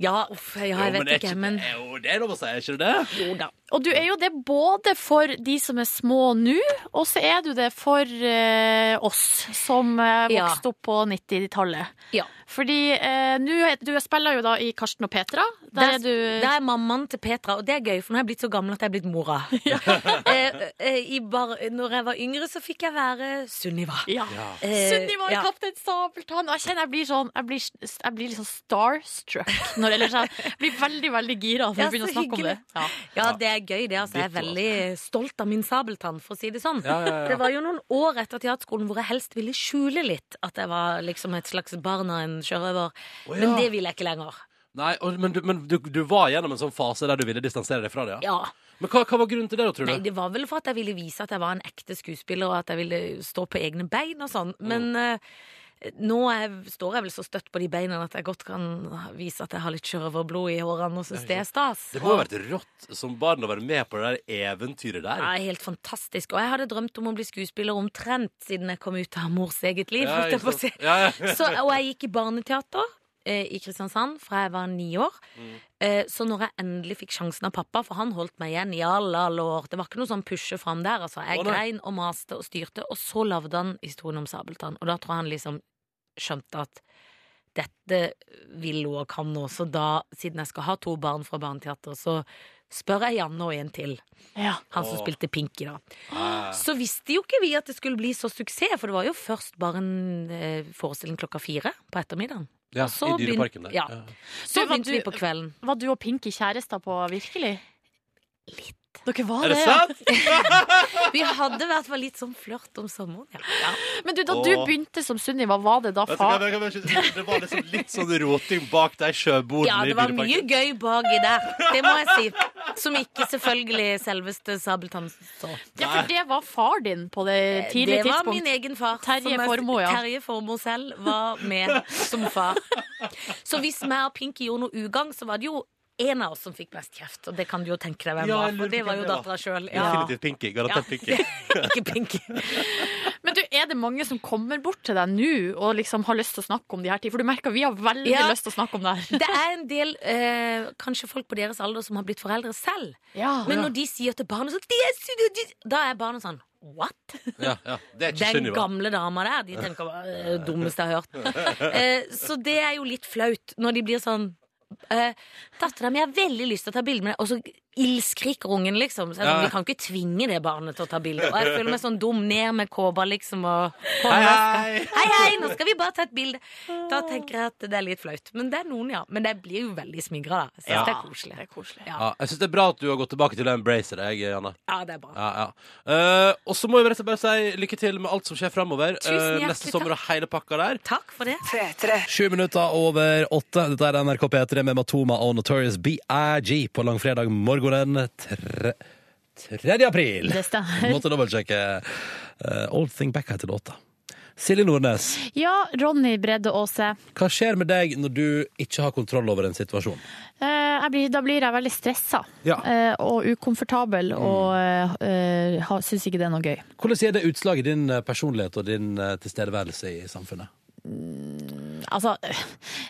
S6: Ja, uff, ja, jeg vet ikke, men
S2: det, er jo, det er lov å si, er ikke det det?
S6: jo da.
S3: Og du er jo det både for de som er små nå, og så er du det for eh, oss som eh,
S6: Ja.
S3: vokste opp på 90-tallet.
S6: Ja.
S3: Fordi eh, nå er- du spiller jo da i Karsten og Petra. Der er du
S6: Det er mammaen til Petra, og det er gøy, for nå er jeg blitt så gammel at jeg er blitt mora. eh, eh, i bar, når jeg var yngre, så fikk jeg være Sunniva.
S3: ja.
S6: Eh,
S3: Sunniva i
S6: ja.
S3: Kaptein Sabeltann. Og jeg kjenner jeg blir sånn Jeg blir, jeg blir litt sånn starstruck. Når, eller så jeg blir veldig, veldig gira når
S6: Ja,
S3: jeg begynner å
S6: så
S3: snakke om det.
S6: hyggelig.
S3: Ja.
S6: Ja, det er gøy, det. Altså. Jeg er veldig stolt av min sabeltann, for å si det sånn. Det var jo noen år etter teaterskolen hvor jeg helst ville skjule litt at jeg var liksom et slags barn av en sjørøver, men det vil jeg ikke lenger.
S2: Nei, og, men, du, men du, du var gjennom en sånn fase der du ville distansere deg fra det, ja?
S6: Ja.
S2: Men hva, hva var grunnen til det, da, tror du?
S6: Nei, det var vel for at jeg ville vise at jeg var en ekte skuespiller, og at jeg ville stå på egne bein og sånn.
S2: Mm.
S6: Men eh, nå er, jeg- står jeg vel så støtt på de beina at jeg godt kan vise at jeg har litt sjørøverblod i hårene og syns det er stas.
S2: Det må ha vært rått som barn å være med på det der eventyret der.
S6: Ja, helt fantastisk. Og jeg hadde drømt om å bli skuespiller omtrent siden jeg kom ut av mors eget liv. holdt jeg på å si.
S2: Ja, ja.
S6: Så, og jeg gikk i barneteater eh, i Kristiansand fra jeg var ni år.
S2: Mm.
S6: Eh, så når jeg endelig fikk sjansen av pappa, for han holdt meg igjen i alle, alle år Det var ikke noe sånn pushe fram der, altså. Jeg
S2: Å, nei.
S6: grein og maste og styrte, og så lagde han historien om Sabeltann. Og da tror jeg han liksom skjønte at dette vil hun og kan nå, så da, siden jeg skal ha to barn fra barneteater, så spør jeg Janne og en til.
S3: Ja.
S6: Han som spilte Pinky, da.
S2: Ah.
S6: Så visste jo ikke vi at det skulle bli så suksess, for det var jo først bare en eh, forestilling klokka fire på ettermiddagen.
S2: Ja,
S6: så
S2: I dyreparken der.
S6: begyn- ja. Så
S3: Du, var
S6: begynte
S3: du-
S6: vi på kvelden.
S3: Var du og Pinky kjærester på virkelig?
S6: Litt.
S3: Dere var
S2: Er det
S3: det, ja.
S2: sant?
S6: Vi hadde i hvert fall litt sånn flørt om sommeren. Ja. Ja.
S3: Men du, da du
S2: Åh.
S3: begynte som Sunniva, var det da
S2: Vet du hva,
S3: far...
S2: men- men- men- Det var liksom litt sånn roting bak de sjøbordene
S6: ja, det var
S2: i
S6: mye
S2: Dyreparken.
S6: gøy baki der. Det må jeg si. Som ikke selvfølgelig selveste Sabeltann så.
S3: Ja, for det var far din på det tidlige
S6: Eh, Det var min
S3: tidspunkt.
S6: egen far.
S3: Terje
S6: som jeg-
S3: Formoe, ja.
S6: Terje Formoe selv var med som far. Så hvis vi og Pinky gjorde noe ugagn, så var det jo en av oss som fikk mest kjeft. Og det kan du jo tenke deg hvem
S2: Ja,
S6: var,
S2: jeg
S6: for
S2: lurer
S6: det
S2: på
S6: var
S2: hvem
S6: jo
S2: det var.
S6: dattera sjøl. Ja.
S2: Definitivt Pinky. Garantert Pinky.
S6: Ikke Pinky.
S3: Men du, er det mange som kommer bort til deg nå og liksom har lyst til å snakke om de her ting? For du merker vi har veldig
S6: Ja.
S3: lyst til å snakke om det her.
S6: Det er en del eh, kanskje folk på deres alder som har blitt foreldre selv.
S3: Ja.
S6: Men når de sier til barnet sånn de er syne- de-" Da er barnet sånn What?
S2: Ja, ja. Det er ikke
S6: Den
S2: Sunniva.
S6: gamle dama der. De tenker hva er det dummeste jeg har hørt. Eh, så det er jo litt flaut når de blir sånn eh, Dattera mi har veldig lyst til å ta bilde med deg, og så ildskriker ungen, liksom. Så jeg, er sånn, vi kan ikke tvinge det barnet til å ta bilde. Og jeg føler meg sånn dum ned med kåpa, liksom, og
S2: Hei,
S6: hånda
S2: hei!
S6: Hei, hei, nå skal vi bare ta et bilde. Da tenker jeg at det er litt flaut. Men det er noen, ja. Men det blir jo veldig smigra, da. Jeg synes
S2: Ja.
S6: det er koselig. Det er koselig. Ja.
S2: Ja, jeg syns det er bra at du har gått tilbake til å embrace deg, Janne.
S6: ja, det er bra.
S2: Ja, ja. Eh, og så må jeg rett og slett bare si lykke til med alt som skjer framover.
S6: Tusen hjertelig
S2: neste sommer og hele pakka der.
S6: Takk for det.
S2: Sju minutter over åtte. Dette er NRK P3 med Matoma og Notorious BIG på langfredag morgenen tre... 3. april.
S3: Det stemmer.
S2: Måtte dobbeltsjekke. Eh, Old Thing Back heter låta. Silje Nordnes,
S3: Ja, Ronny Bredde Aase.
S2: hva skjer med deg når du ikke har kontroll over en situasjon?
S3: Eh, jeg blir, da blir jeg veldig stressa
S2: Ja.
S3: eh, og ukomfortabel, og uh, syns ikke det er noe gøy.
S2: Hvordan er det utslag i din eh, personlighet og din eh, tilstedeværelse i samfunnet?
S3: Altså,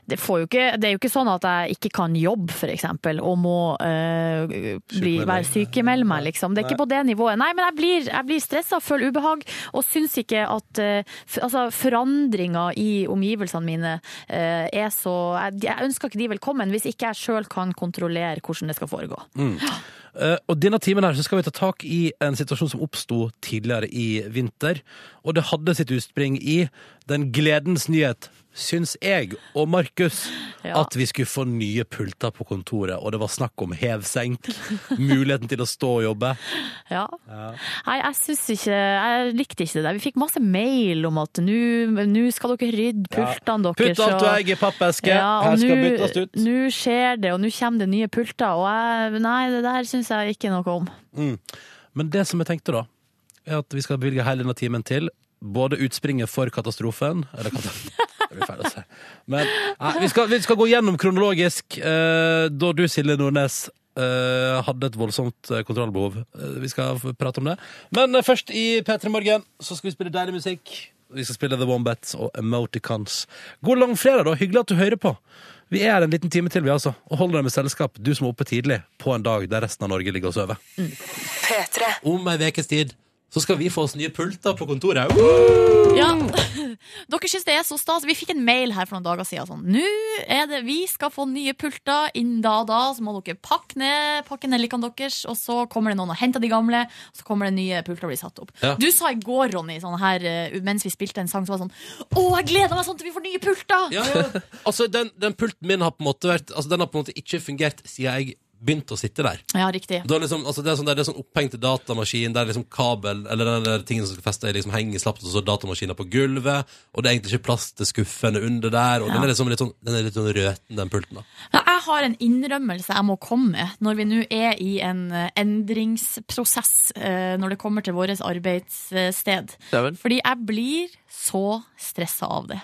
S3: det, får jo ikke, det er jo ikke sånn at jeg ikke kan jobbe, for eksempel, og må eh, bli,
S2: Sykemeldt.
S3: være sykemeld meg, liksom. Det er ikke på det nivået. Nei, men jeg blir, jeg blir stressa, føler ubehag, og syns ikke at eh, f altså, forandringer i omgivelsene mine eh, er så jeg, jeg ønsker ikke de velkommen hvis ikke jeg sjøl kan kontrollere hvordan det skal foregå.
S2: Eh, Og denne timen her så skal vi ta tak i en situasjon som oppsto tidligere i vinter. Og det hadde sitt utspring i den gledens nyhet, syns jeg og Markus,
S3: Ja.
S2: at vi skulle få nye pulter på kontoret. Og det var snakk om hev-senk, muligheten til å stå og jobbe.
S3: Ja. Nei, jeg syns ikke Jeg likte ikke det der. Vi fikk masse mail om at nå nå skal dere rydde pultene deres.
S2: Putt alt du
S3: og-
S2: eier i pappeske,
S3: Ja, og
S2: her skal
S3: nå-
S2: byttes ut.
S3: Nå skjer det, og nå kommer det nye pulter, og jeg, nei, det der syns jeg ikke noe om.
S2: Mm. Men det som jeg tenkte da, er at vi skal bevilge hele denne timen til både utspringet for katastrofen Eller katastrofen Det blir feil å si. Men nei, vi, skal, vi skal gå gjennom kronologisk eh, da du, Silje Nordnes, eh, hadde et voldsomt eh, kontrollbehov. Eh, vi skal f- prate om det. Men eh, først i P3 Morgen så skal vi spille deilig musikk. Vi skal spille The Wombats og Emoticons. God langfredag, da. Hyggelig at du hører på. Vi er her en liten time til, vi altså. Og holder deg med selskap, du som er oppe tidlig, på en dag der resten av Norge ligger og sover om ei ukes tid så skal vi få oss nye pulter på kontoret.
S3: Ja. Dere syns det er så stas. Vi fikk en mail her for noen dager siden sånn Nå er det Vi skal få nye pulter innen da og da, så må dere pakke ned pakke ned likene deres, og så kommer det noen og henter de gamle, og så kommer det nye pulter og blir satt opp.
S2: Ja.
S3: Du sa i går, Ronny, sånn her eh, mens vi spilte en sang som var sånn Å, jeg gleder meg sånn til vi får nye pulter!
S2: Ja, ja. Altså, den, den pulten min har på en måte vært Altså, den har på en måte ikke fungert siden jeg begynte å sitte der.
S3: Ja, riktig.
S2: Da liksom, altså, det er sånn, der- det er sånn opphengt til datamaskin, der liksom kabel Eller den der tingen som skal feste, liksom henger slapt, og så datamaskinen på gulvet, og det er egentlig ikke plass til skuffene under der, og den er liksom litt sånn Den er litt sånn røten, den pulten, da.
S3: Ja, Jeg har en innrømmelse jeg må komme med når vi nå er i en eh, endringsprosess eh, når det kommer til vårt arbeidssted.
S5: Dæven.
S3: Fordi jeg blir så stressa av det.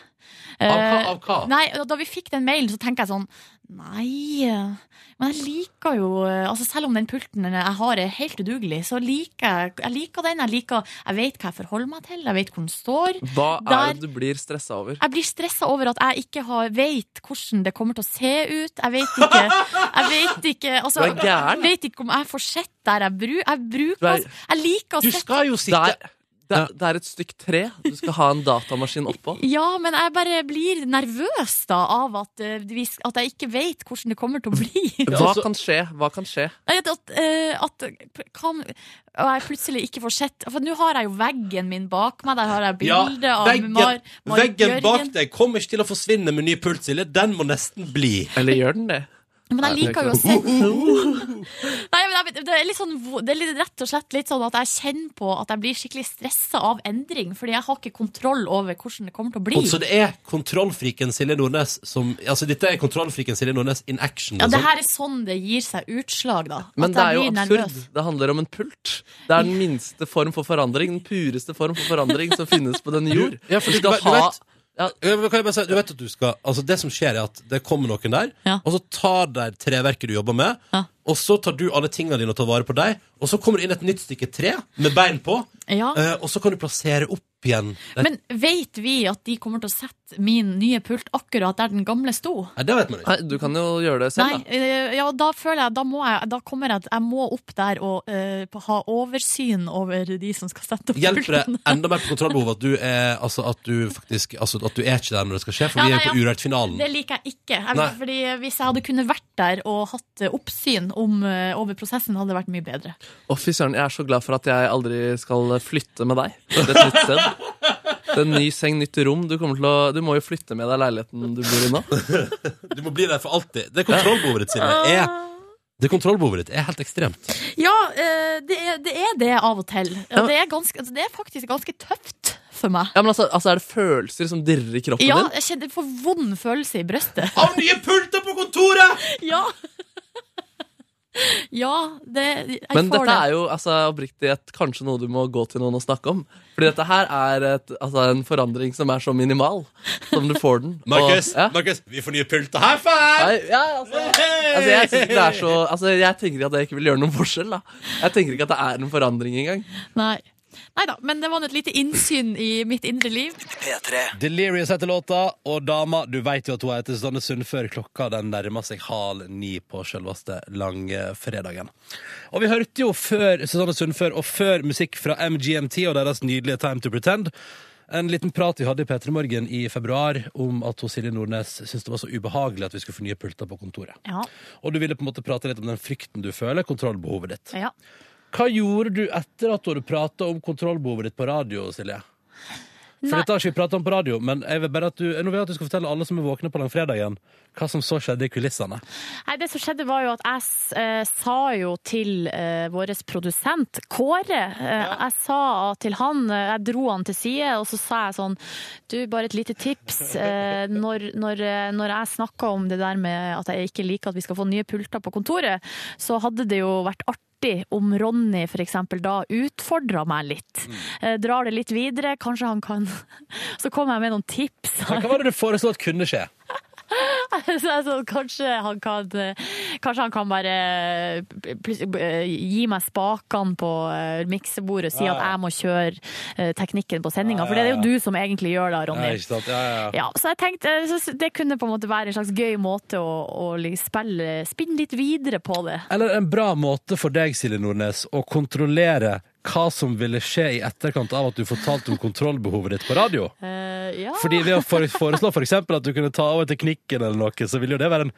S2: Av hva?
S3: Eh,
S2: Av hva?
S3: Nei, og Da vi fikk den mailen, så tenker jeg sånn Nei, eh, men jeg liker jo eh, altså Selv om den pulten jeg har er helt udugelig, så liker jeg, jeg liker den. Jeg, liker, jeg vet hva jeg forholder meg til, jeg vet hvor den står.
S5: Hva
S3: Der-
S5: er det du blir stressa over?
S3: Jeg blir stressa over at jeg ikke har, vet hvordan det kommer til å se ut. Jeg vet ikke Jeg vet ikke, altså,
S5: Du er gæren.
S3: jeg vet ikke om jeg får sett der jeg, bru, jeg
S5: Du
S3: bruker
S5: er-
S3: altså, Jeg liker å
S2: Du
S3: sette
S2: skal jo
S5: Det
S2: sitte
S5: er, det, er, det er et stykk tre du skal ha en datamaskin oppå.
S3: ja, men jeg bare blir nervøs da av at, eh, vi sk- at jeg ikke vet hvordan det kommer til å bli.
S5: Hva kan skje? Hva kan skje?
S3: Nei, At, at, eh, at p- kan, og jeg plutselig ikke får sett For nå har jeg jo veggen min bak meg. Der har jeg bilde av
S2: veggen,
S3: Mar, Marit
S2: veggen bak
S3: Bjørgen.
S2: deg kommer ikke til å forsvinne med ny puls, Silje. Den må nesten bli.
S5: Eller gjør den det?
S3: Men jeg
S5: Nei, det er
S3: liker jo å
S5: ikke
S3: se Nei, men jeg vet- det er, litt sånn, vo- det er litt, rett og slett litt sånn at jeg kjenner på at jeg blir skikkelig stressa av endring, fordi jeg har ikke kontroll over hvordan det kommer til å bli.
S2: Og så det er kontrollfriken Silje Nordnes som Altså, dette er kontrollfriken Silje Nordnes in action.
S3: Ja, det
S2: liksom.
S3: her er sånn det gir seg utslag, da.
S5: Men
S3: at
S5: det er jo
S3: jeg blir
S5: absurd.
S3: nervøs.
S5: Det handler om en pult. Det er den minste form for forandring, den pureste form for forandring som finnes på denne jord.
S2: Ja, for du,
S5: Du skal
S2: skal, du,
S5: ha-
S2: vet, Ja, men kan jeg bare si, du vet at du skal Altså Det som skjer, er at det kommer noen der, og så tar de treverket du jobber med, og så tar du alle tingene dine og tar vare på dem, og så kommer det inn et nytt stykke tre med bein på,
S3: Ja.
S2: eh, og så kan du plassere opp igjen. Det-
S3: Men vet vi at de kommer til å sette min nye pult akkurat der den gamle sto?
S2: Nei, det vet man ikke.
S5: Nei, du kan jo gjøre det selv,
S3: Nei, eh, ja, da føler jeg Da, må jeg, da kommer jeg at jeg må opp der og eh, ha oversyn over de som skal sette opp
S2: Hjelper det
S3: pulten.
S2: enda mer på kontrollbehovet at du er Altså at du faktisk Altså at du er ikke der når det skal skje, for
S3: Ja,
S2: vi
S3: nei,
S2: er jo på
S3: ja.
S2: Urørt-finalen.
S3: Det liker jeg ikke. Jeg,
S2: Nei.
S3: fordi Hvis jeg hadde kunnet vært der og hatt eh, oppsyn om, eh, over prosessen, hadde det vært mye bedre.
S5: Å, fy søren, jeg er så glad for at jeg aldri skal flytte med deg til et nytt sted. Det er en ny seng, nytt rom. Du, kommer til å, du må jo flytte med deg leiligheten du bor i nå.
S2: Du må bli der for alltid. Det kontrollbehovet ditt, Silje, er Det kontrollbehovet ditt er helt ekstremt.
S3: Ja, eh, det er, det er det av og til.
S5: Ja,
S3: Og Det er, ganske, altså, det er faktisk ganske tøft for meg.
S5: Ja, men altså, altså, er det følelser som dirrer i kroppen
S3: Ja,
S5: din?
S3: jeg kjenner for vond følelse i brøstet.
S2: Av nye pulter på kontoret!
S3: Ja! ja, det Jeg
S5: Men
S3: får
S5: dette
S3: det.
S5: er jo altså, oppriktighet kanskje noe du må gå til noen og snakke om. Fordi dette her er et, altså, en forandring som er så minimal som du får den. Og-
S2: Markus,
S5: ja.
S2: Markus, vi får nye pulter. High five!
S5: Nei, ja, altså, altså, jeg, synes det er så, altså, jeg tenker at jeg ikke vil gjøre noen forskjell. Da. Jeg tenker ikke at det er en forandring engang.
S3: Nei. Neida, men det var nå et lite innsyn i mitt indre liv.
S2: Delirious heter låta, og dama, du veit jo at hun heter Susanne Sund før klokka den nærmer seg halv ni på selveste langfredagen. Og vi hørte jo før Susanne Sundfør og før musikk fra MGMT og deres nydelige Time to Pretend. En liten prat vi hadde i P3 Morgen i februar om at hun Silje Nordnes syntes det var så ubehagelig at vi skulle få nye pulter på kontoret.
S3: Ja.
S2: Og du ville på en måte prate litt om den frykten du føler, kontrollbehovet ditt.
S3: ja.
S2: Hva gjorde du etter at du hadde prata om kontrollbehovet ditt på radio, Silje? For
S3: Nei.
S2: dette har ikke vi pratet om på radio, men jeg vil bare at du, nå vil jeg at du skal fortelle alle som er våkne på langfredagen, hva som så skjedde i kulissene.
S3: Nei, det som skjedde var jo at jeg s- eh, sa jo til eh, vår produsent, Kåre, eh, jeg sa til han, eh, jeg dro han til side, og så sa jeg sånn, du, bare et lite tips, eh, når, når, eh, når jeg snakket om det der med at jeg ikke liker at vi skal få nye pulter på kontoret, så hadde det jo vært artig om Ronny for eksempel da utfordret meg litt Eh, Drar det litt videre Kanskje han kan Så kom jeg med noen tips
S2: Men Hva var det du foreslo at kunne skje?
S3: så jeg er sånn, kanskje, han kan, kanskje han kan bare plutselig, eh, gi meg spakene på eh, miksebordet og si at jeg må kjøre eh, teknikken på sendinga. For det er jo du som egentlig gjør det, Ronny.
S2: Ja, ikke sant? Ja, ja, ja.
S3: Ja, så jeg tenkte eh, så det kunne på en måte være en slags gøy måte å, å liksom spille, spinne litt videre på det.
S2: Eller en bra måte for deg, Silje Nordnes, å kontrollere hva som ville skje i etterkant av at du fortalte om kontrollbehovet ditt på radio.
S3: Eh, ja.
S2: Fordi ved å fore- foreslå for eksempel at du kunne ta over teknikken eller noe, så ville jo det være en,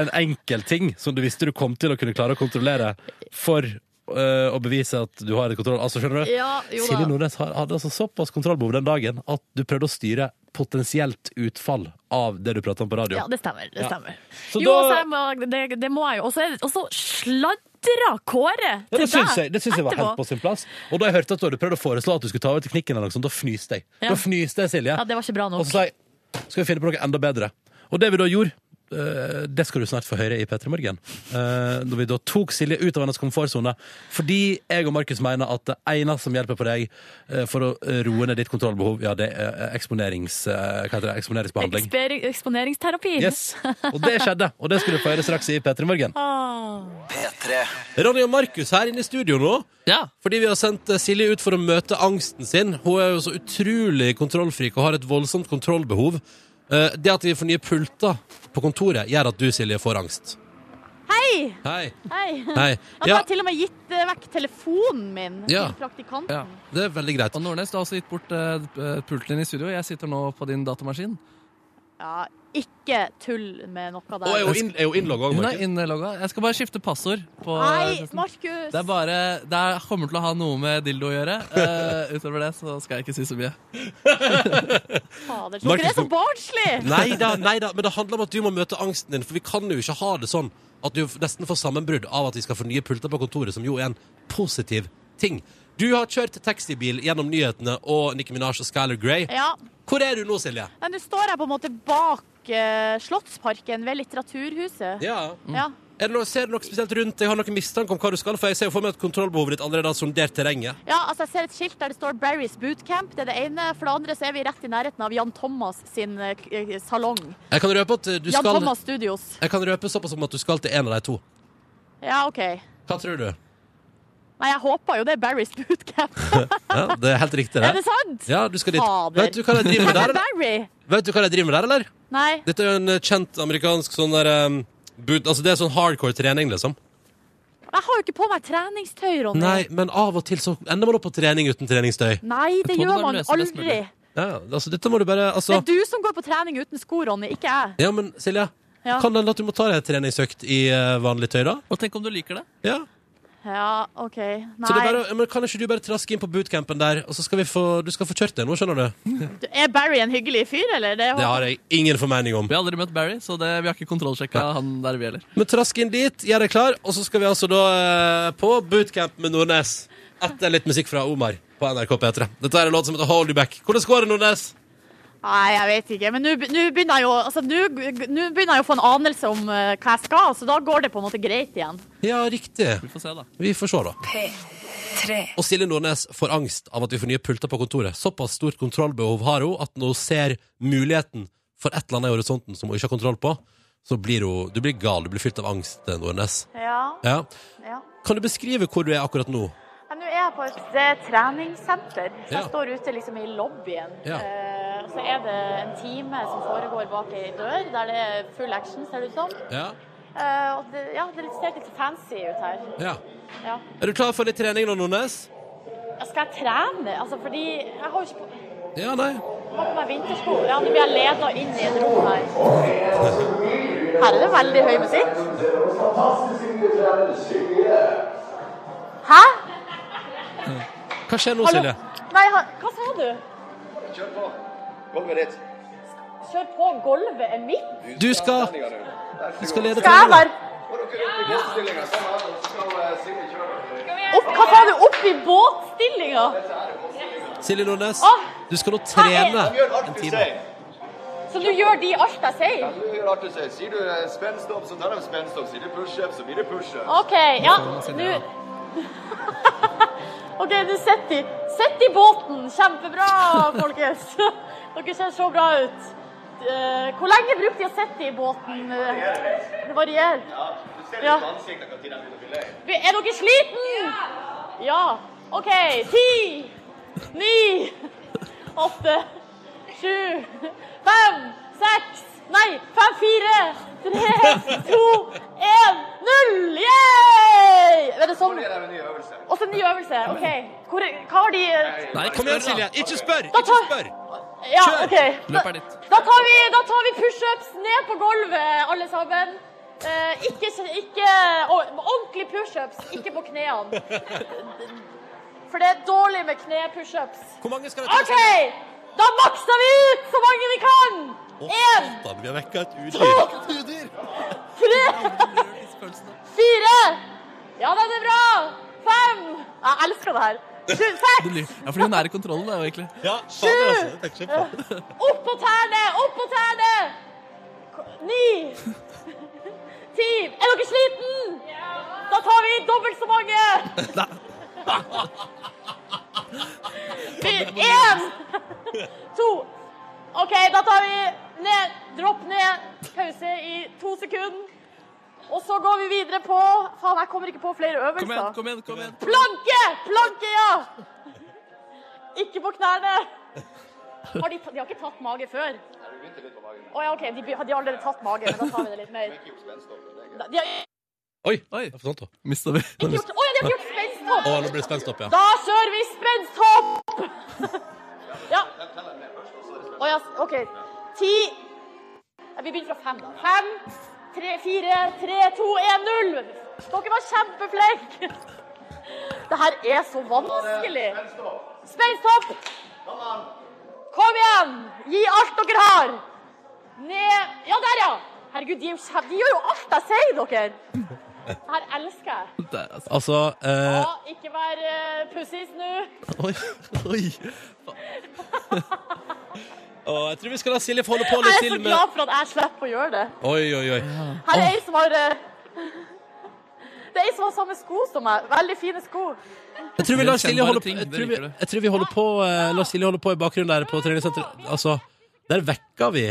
S2: en enkel ting som du visste du kom til å kunne klare å kontrollere for øh, å bevise at du har kontroll. Altså, skjønner du?
S3: Ja, jo da.
S2: Silje Nordnes har- hadde altså såpass kontrollbehov den dagen at du prøvde å styre potensielt utfall av det du pratet om på radio.
S3: Ja, det stemmer. Det
S2: Ja.
S3: stemmer.
S2: Så
S3: jo,
S2: da-
S3: så jeg må, det, det må jeg jo. Og så er det- og så sladra Kåre
S2: Ja,
S3: til
S2: det syns
S3: deg
S2: jeg, det syns jeg var
S3: etterpå.
S2: helt på sin plass. Og da jeg hørte at du hadde prøvd å foreslå at du skulle ta over teknikken, eller noe sånt, da fnyste jeg.
S3: Ja.
S2: Da fnyste jeg, Silje.
S3: Ja, det var ikke bra nok.
S2: Og så sa jeg skal vi finne på noe enda bedre. Og det vi da gjorde, eh, det skal du snart få høre i P3 Morgen. Eh, Når vi da tok Silje ut av hennes komfortsone. Fordi jeg og Markus mener at det ene som hjelper på deg eh, for å roe ned ditt kontrollbehov, ja, det er eksponerings, eh, hva heter det? eksponeringsbehandling.
S3: Eksper- Eksponeringsterapi.
S2: Yes. Og det skjedde, og det skulle du få høre straks i P3 Morgen.
S3: Ah.
S2: Ronny og Markus her inne i studio nå.
S5: Ja.
S2: Fordi vi har sendt eh, Silje ut for å møte angsten sin. Hun er jo så utrolig kontrollfrik og har et voldsomt kontrollbehov. Eh, Det at vi får nye pulter på kontoret, gjør at du, Silje, får angst.
S6: Hei!
S2: Hei.
S6: Hei.
S2: Hei.
S6: Jeg
S2: Ja,
S6: har til og med gitt eh, vekk telefonen min
S2: Ja.
S6: til praktikanten.
S5: Ja.
S2: det er veldig greit.
S5: Og Nordnes, du har også gitt bort eh, pulten din i studio. Jeg sitter nå på din datamaskin.
S3: Ja, ikke tull med noe der.
S2: Og er jo inn- er jo innlogga òg,
S13: Hun er
S2: Markus.
S13: innlogga. Jeg skal bare skifte passord. På
S3: Nei, Markus!
S13: Det er bare Det er, kommer til å ha noe med dildo å gjøre. Eh, utover det så skal jeg ikke si så mye.
S3: Fader, dere er så barnslig!
S2: Nei da, nei da, men det handler om at du må møte angsten din, for vi kan jo ikke ha det sånn at du nesten får sammenbrudd av at vi skal få nye pulter på kontoret, som jo er en positiv ting. Du har kjørt taxibil gjennom nyhetene og Nicki Minaj og Skylar Grey.
S3: Ja,
S2: Hvor er du nå, Silje?
S3: men nå står jeg på en måte bak eh, Slottsparken ved Litteraturhuset.
S2: Ja.
S3: Ja.
S2: Er det noe, ser du noe spesielt rundt? Jeg har noen mistanke om hva du skal, for jeg ser jo for meg at kontrollbehovet ditt allerede har sondert terrenget.
S3: Ja, altså Jeg ser et skilt der det står 'Barry's Bootcamp'. Det er det ene. For det andre så er vi rett i nærheten av Jan Thomas sin eh, k- eh, salong.
S2: Jeg kan røpe at eh, du
S3: Jan
S2: skal
S3: Thomas Studios.
S2: Jeg kan røpe såpass om at du skal til en av de to.
S3: Ja, OK.
S2: Hva tror du?
S3: Nei, jeg håper jo det er Barry's Bootcamp.
S2: Ja, det er helt riktig, det.
S3: Er det sant?
S2: Ja, du skal dit.
S3: Fader.
S2: Vet du hva de driver med der, eller?
S3: Barry?
S2: Vet du hva de driver med der, eller?
S3: Nei.
S2: Dette er jo en eh, kjent amerikansk sånn der um, boot, Altså det er sånn hardcore trening, liksom.
S3: Jeg har jo ikke på meg treningstøy, Ronny.
S2: Nei, men av og til så ender man opp på trening uten treningstøy.
S3: Nei, det
S2: Jeg tror
S3: gjør
S2: det
S3: man
S2: bare løser best
S3: aldri.
S2: Ja, altså dette må du bare
S3: Det
S2: Altså
S3: er du som går på trening uten sko, Ronny, ikke jeg.
S2: Ja, men Silja.
S3: Ja.
S2: Kan det hende at du må ta deg en treningsøkt i eh, vanlig tøy, da?
S13: Og tenk om du liker det.
S2: Ja.
S3: Ja, OK.
S2: Så det er
S3: Nei.
S2: bare, men kan ikke du bare traske inn på bootcampen der, og så skal vi få Du skal få kjørt deg nå, skjønner du?
S3: Du- Er Barry en hyggelig fyr, eller? Det,
S2: Det har jeg ingen formening om.
S13: Vi har aldri møtt Barry, så det, vi har ikke kontrollsjekka han der vi heller.
S2: Men trask inn dit, gjør deg klar, og så skal vi altså da eh, på bootcamp med Nordnes. Etter litt musikk fra Omar på NRK P3. Dette er en låt som heter Hold You Back. Hvordan går det, Nordnes?
S3: Nei, jeg vet ikke. Men nå be- nå begynner jeg jo altså, nå g- nå begynner jeg jo å få en anelse om eh, hva jeg skal, så da går det på en måte greit igjen.
S2: Ja, riktig. Vi
S13: får se, da.
S3: P3.
S2: Og Silje Nordnes får angst av at vi får nye pulter på kontoret. Såpass stort kontrollbehov har hun at når hun ser muligheten for et eller annet i horisonten som hun ikke har kontroll på, så blir hun Du blir gal. Du blir fylt av angst, eh, Nordnes.
S3: Ja.
S2: Ja.
S3: ja.
S2: Kan du beskrive hvor du er akkurat nå?
S3: Ja, Nå er jeg på et eh, treningssenter. Så
S2: Ja.
S3: jeg står ute liksom i lobbyen.
S2: Ja.
S3: Eh, og så er det en time som foregår bak ei dør, der det er full action, ser det ut som.
S2: Ja.
S3: Eh, og det, ja, det ser litt fancy ut her.
S2: ja.
S3: Ja.
S2: Er du klar for litt trening nå, Nordnes?
S3: Ja, Skal jeg trene? Altså, fordi jeg har jo ikke på,
S2: Ja, nei.
S3: har på meg vintersko. Ja, nå blir jeg leda inn i et rom her. Her er det veldig høy musikk. Hæ?
S2: Hva skjer nå,
S3: Hallo?
S2: Silje?
S3: Nei, han- hva sa du?
S14: Kjør på. Gulvet er ditt.
S3: Kjør på, gulvet er mitt.
S2: Du skal Du skal lede
S3: Skal jeg
S2: treninga.
S3: være opp, Hva sa du? Opp i båtstillinga?
S2: Silje Nordnes,
S3: Åh,
S2: du skal nå trene
S3: hva er-
S2: en time.
S3: Så nå gjør de alt jeg sier?
S14: Du gjør alt du sier. Sier du eh, spenst opp, så tar de spenst opp. Sier du push up, så blir det push up.
S3: OK, ja. Nå OK, nå sitter de. Sitt i båten. Kjempebra, folkens. Dere ser så bra ut. Eh, Hvor lenge brukte de å sitte i båten? Eh, Det varierer.
S14: Du ser
S3: Ja.
S14: litt på ansiktet når de begynner å bli lei.
S3: Vi- Er dere sliten? Ja. OK. Ti, ni, åtte, sju, fem, seks Nei, fem, fire, tre, to, én, null! Yeah! Er det sånn? Og så ny øvelse. OK. Hvor, hva har de
S2: Nei, kom igjen, Silje. Ikke spør!
S3: Da
S2: Ikke spør!
S3: Ja, OK. Da,
S2: Løp er ditt.
S3: da tar vi, da tar vi pushups ned på gulvet, alle sammen. Eh, ikke ikke å- ordentlig pushups, ikke på knærne. For det er dårlig med knepushups.
S2: Hvor mange skal det
S3: OK! Da makser vi ut så mange vi kan! Én,
S2: Satan, vi har vekka et udyr.
S3: to, tre, fire Ja, den er bra! Fem Jeg elsker det her. Sju, seks,
S13: Det blir- Ja, fordi hun er i kontrollen, da, egentlig.
S2: Ja,
S3: fader, Opp på tærne! Opp på tærne! Ko- Ni. Ti. Er dere sliten? Da tar vi dobbelt så mange. Vi, én, to. OK, da tar vi ned. Dropp ned. Pause i to sekunder. Og så går vi videre på Faen, jeg kommer ikke på flere øvelser.
S13: Kom igjen, kom igjen, kom igjen.
S3: Planke! Planke, ja! Ikke på knærne. Har de, de har ikke tatt mage før? Å ja, OK. De, be- de har allerede tatt mage, men da tar vi det litt mer. Da- De har ikke
S2: Oi, oi. Sånt,
S13: Mista vi.
S3: gjort Å ja, de har ikke gjort
S2: Å, nå
S3: spensthopp!
S2: blir det spensthopp, ja.
S3: Da kjører vi spensthopp! Ja. Å ja, OK. Ti, Ja, Vi begynner fra fem, da. Fem, tre, fire, tre, to, en, null. Dere var kjempeflinke. Det her er så vanskelig. Spennstopp. Kom igjen. Gi alt dere har. Ned. Ja, der, ja. Herregud, de, er jo kjem- de gjør jo alt jeg sier, dere. Det her elsker jeg.
S2: Altså
S3: Ja,
S2: eh,
S3: ikke vær uh, pussis nå.
S2: Oi. oi. Å, jeg tror vi skal la Silje få holde på
S3: Jeg
S2: litt
S3: er så
S2: til med
S3: glad for at jeg slipper å gjøre det.
S2: Oi, oi, oi.
S3: Her er ei som har eh, Det er ei som har samme sko som meg. Veldig fine sko.
S2: Jeg tror vi lar Silje holde på,
S5: Ting,
S2: jeg
S5: det
S2: tror vi,
S5: liker du.
S2: jeg tror vi holder på, eh, lar Silje holde på i bakgrunnen der på treningssenteret. Altså, der vekker vi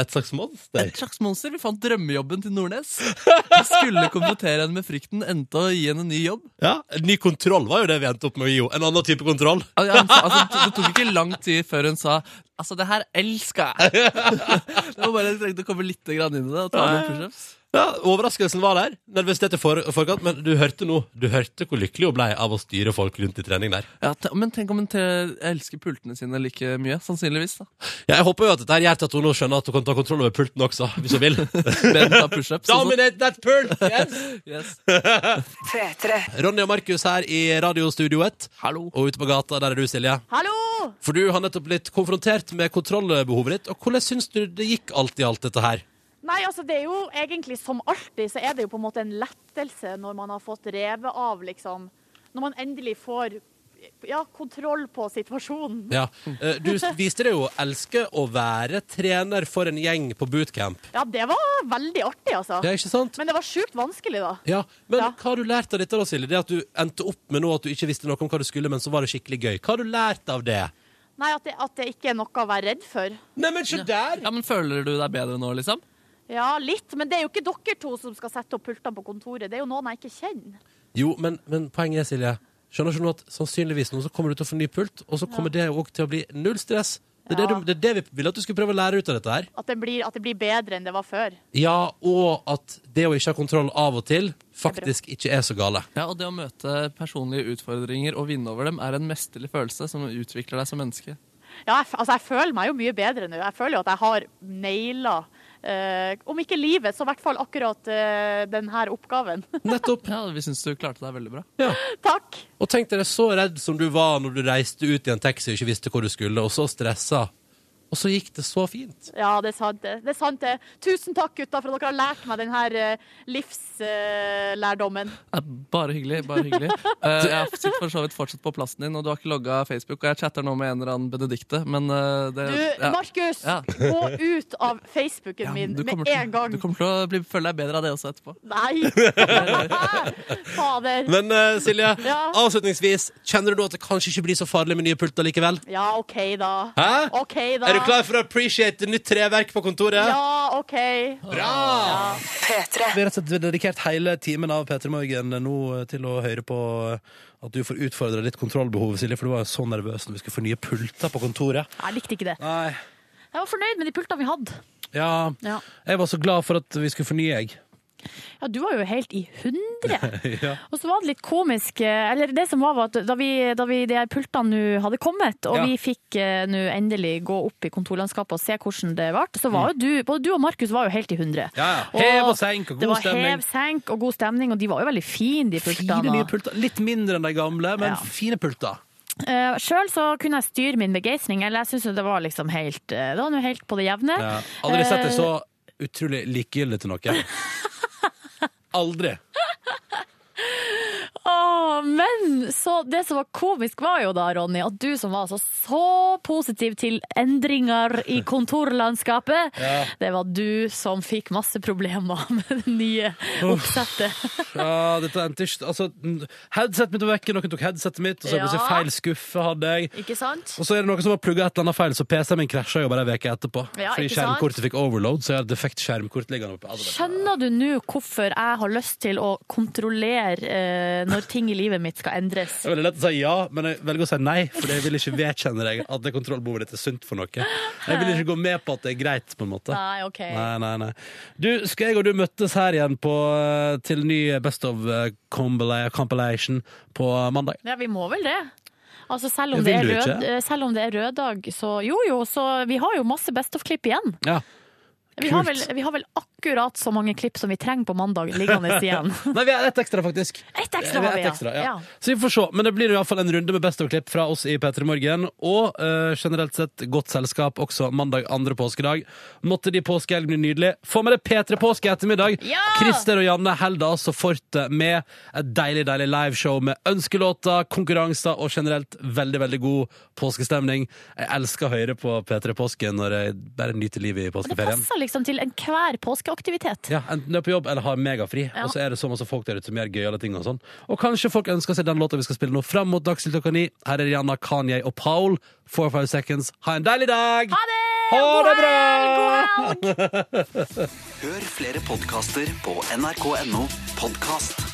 S2: et slags monster.
S5: Et slags monster. Vi fant drømmejobben til Nordnes. Vi skulle konfrontere henne med frykten, endte å gi henne en ny jobb.
S2: Ja, Ny kontroll var jo det vi endte opp med å gi henne. En annen type kontroll.
S5: Al- Altså, altså, det tok ikke lang tid før hun sa Altså, det her elsker jeg! Det var bare jeg trengte å komme litt grann inn i det og ta noen pushups.
S2: Ja, Overraskelsen var der. Nervøsitet i for, forkant, men du hørte nå Du hørte hvor lykkelig hun ble av å styre folk rundt i trening der.
S5: Ja, te- men tenk om hun te elsker pultene sine like mye. Sannsynligvis, da.
S2: Ja, jeg håper jo at dette her gjør at hun nå skjønner at hun kan ta kontroll over pulten også, hvis hun vil.
S5: Bent tar pushups. og sånn.
S2: Dominate that pult!
S5: Yes.
S2: Ronny og Markus her i Radiostudio 1.
S5: Hallo.
S2: Og ute på gata, der er du, Silje.
S3: Hallo!
S2: For du har nettopp blitt konfrontert med kontrollbehovet ditt. Og hvordan syns du det gikk alt i alt, dette her?
S3: Nei, altså det er jo egentlig som alltid, så er det jo på en måte en lettelse når man har fått revet av, liksom. Når man endelig får ja, kontroll på situasjonen.
S2: Ja. eh, Du viste deg jo å elske å være trener for en gjeng på bootcamp.
S3: Ja, det var veldig artig, altså.
S2: Ja, ikke sant?
S3: Men det var sjukt vanskelig, da.
S2: Ja, Men hva har du lært av dette, da, Silje? Det at du endte opp med noe at du ikke visste noe om hva du skulle, men så var det skikkelig gøy. Hva har du lært av det?
S3: Nei, at det, at det ikke er noe å være redd for.
S2: Neimen, se der!
S5: Ja, men Føler du deg bedre nå, liksom?
S3: Ja, litt. Men det er jo ikke dere to som skal sette opp pultene på kontoret. Det er jo noen jeg ikke kjenner.
S2: Jo, men, men poenget er, Silje, skjønner ikke du nå at sannsynligvis nå så kommer du til å få ny pult, og så kommer det òg til å bli null stress. Det er, det, du, det er det vi ville at du skulle prøve å lære ut av dette her.
S3: At det blir, at det blir bedre enn det var før.
S2: Ja, og at det å ikke ha kontroll av og til faktisk ikke er så gale.
S5: Ja, og det å møte personlige utfordringer og vinne over dem er en mesterlig følelse som utvikler deg som menneske.
S3: Ja, jeg, f- altså, jeg føler meg jo mye bedre nå. Jeg føler jo at jeg har naila eh, Om ikke livet, så i hvert fall akkurat eh, denne oppgaven.
S2: Nettopp.
S5: Ja, vi syns du klarte deg veldig bra.
S3: Takk.
S2: Og tenk deg så redd som du var når du reiste ut i en taxi og ikke visste hvor du skulle, og så stressa. Og så gikk det så fint.
S3: Ja, det er sant. det. Det er sant det. Tusen takk, gutter, for at dere har lært meg denne livslærdommen.
S5: Ja, Bare hyggelig. bare hyggelig Eh, Jeg sitter for så vidt fortsatt på plassen din, og du har ikke logga Facebook. Og jeg chatter nå med en eller annen Benedicte, men eh, det,
S3: Du,
S5: ja.
S3: Markus,
S5: Ja.
S3: gå ut av Facebooken min
S5: Du kommer
S3: med
S5: til-
S3: en gang.
S5: Du kommer til å bli, føle deg bedre av det også etterpå.
S3: Nei! Fader.
S2: Men eh, Silje,
S3: Ja.
S2: avslutningsvis, kjenner du nå at det kanskje ikke blir så farlig med nye pulter likevel?
S3: Ja, OK, da.
S2: Hæ?
S3: OK, da.
S2: Er du klar for å appreciate nytt treverk på kontoret?
S3: Ja, OK.
S2: Bra! Vi har rett og slett dedikert hele timen av P3 Morgen nå til å høre på at du får utfordra ditt kontrollbehov, Silje, for du var jo så nervøs når vi skulle få nye pulter på kontoret.
S3: Jeg likte ikke det.
S2: Nei.
S1: Jeg var fornøyd med de pultene vi hadde.
S2: Ja,
S1: Ja.
S2: jeg var så glad for at vi skulle fornye, jeg.
S1: Ja, du var jo helt i hundre.
S2: ja.
S1: Og så var det litt komisk, eh, eller det som var var at da vi, da vi de her pultene nå hadde kommet, og
S2: Ja.
S1: vi fikk eh, nå endelig gå opp i kontorlandskapet og se hvordan det ble, så var jo du, både du og Markus var jo helt i hundre.
S2: Mm. Ja, ja.
S1: Og
S2: Hev og senk og god
S1: Det var
S2: stemning.
S1: hev, senk og god stemning, og de var jo veldig fine, de pultene.
S2: Fine nye pulter. Litt mindre enn de gamle, men fine pulter.
S1: Uh, Sjøl så kunne jeg styre min begeistring, eller jeg syns jo det var liksom helt eh, Det var nå helt på det jevne.
S2: Ja. Aldri sett deg
S1: Eh,
S2: så utrolig likegyldig til noe. Aldri.
S1: Åh, men så det som var komisk var jo da, Ronny, at du som var altså så positiv til endringer i kontorlandskapet,
S2: Ja.
S1: det var du som fikk masse problemer med det nye oppsettet.
S2: Ja, dette endte ikke Altså, headsetet mitt var vekke, noen tok headsetet mitt, og så
S1: Ja.
S2: plutselig feil skuffe hadde jeg.
S1: Ikke sant?
S2: Og så er det noen som har plugga et eller annet feil, så PC-en min krasja jo bare ei uke etterpå.
S1: Ja,
S2: Fordi
S1: ikke sant?
S2: skjermkortet fikk overload, så jeg har et defekt skjermkort liggende oppe. Altså,
S1: Skjønner du nå hvorfor jeg har lyst til å kontrollere eh, når ting i livet mitt skal endres?
S2: Det er veldig lett å si ja, men jeg velger å si nei, for jeg vil ikke vedkjenne deg at det kontrollbehovet ditt er sunt for noe. Jeg vil ikke gå med på at det er greit, på en måte.
S1: Nei, ok.
S2: Nei, nei, nei. Du, skal jeg og du møttes her igjen på, eh, til ny Best of eh, Combala- compilation på mandag?
S1: Ja, vi må vel det. Altså, selv om
S2: Vil
S1: det er
S2: du
S1: rød,
S2: ikke?
S1: eh, selv om det er rød dag, så jo jo, så vi har jo masse best of-klipp igjen.
S2: Ja.
S3: Vi har, vel, vi har vel akkurat så mange klipp som vi trenger på mandag liggende igjen.
S2: Nei, vi har ett ekstra, faktisk.
S3: Ett ekstra
S2: Vi
S3: har
S2: har
S3: vi,
S2: ett
S3: ja.
S2: ekstra, ja.
S3: ja.
S2: Så vi får se. Men det blir i hvert fall en runde med Best of-klipp fra oss i P3 Morgen. Og eh, generelt sett godt selskap også mandag andre påskedag. Måtte de påskehelg bli nydelig. Få med deg P3 Påske i ettermiddag. Christer og Janne holder altså fortet med et deilig, deilig liveshow med ønskelåter, konkurranser og generelt veldig, veldig god påskestemning. Jeg elsker å høre på P3 Påske når jeg bare nyter livet i
S3: Det
S2: påskeferien.
S3: passer liksom til enhver påskeaktivitet.
S2: Ja, Enten du er på jobb eller har megafri,
S3: Ja.
S2: og så er det så masse folk der ute som gjør gøyale ting. Og sånn Og kanskje folk ønsker seg den låta vi skal spille nå, fram mot Dagsnytt klokka ni. Her er Rihanna, Kanye og Paul. Four five seconds. Ha en deilig dag! Ha det! bra!
S1: Hør flere podkaster på nrk.no podkast.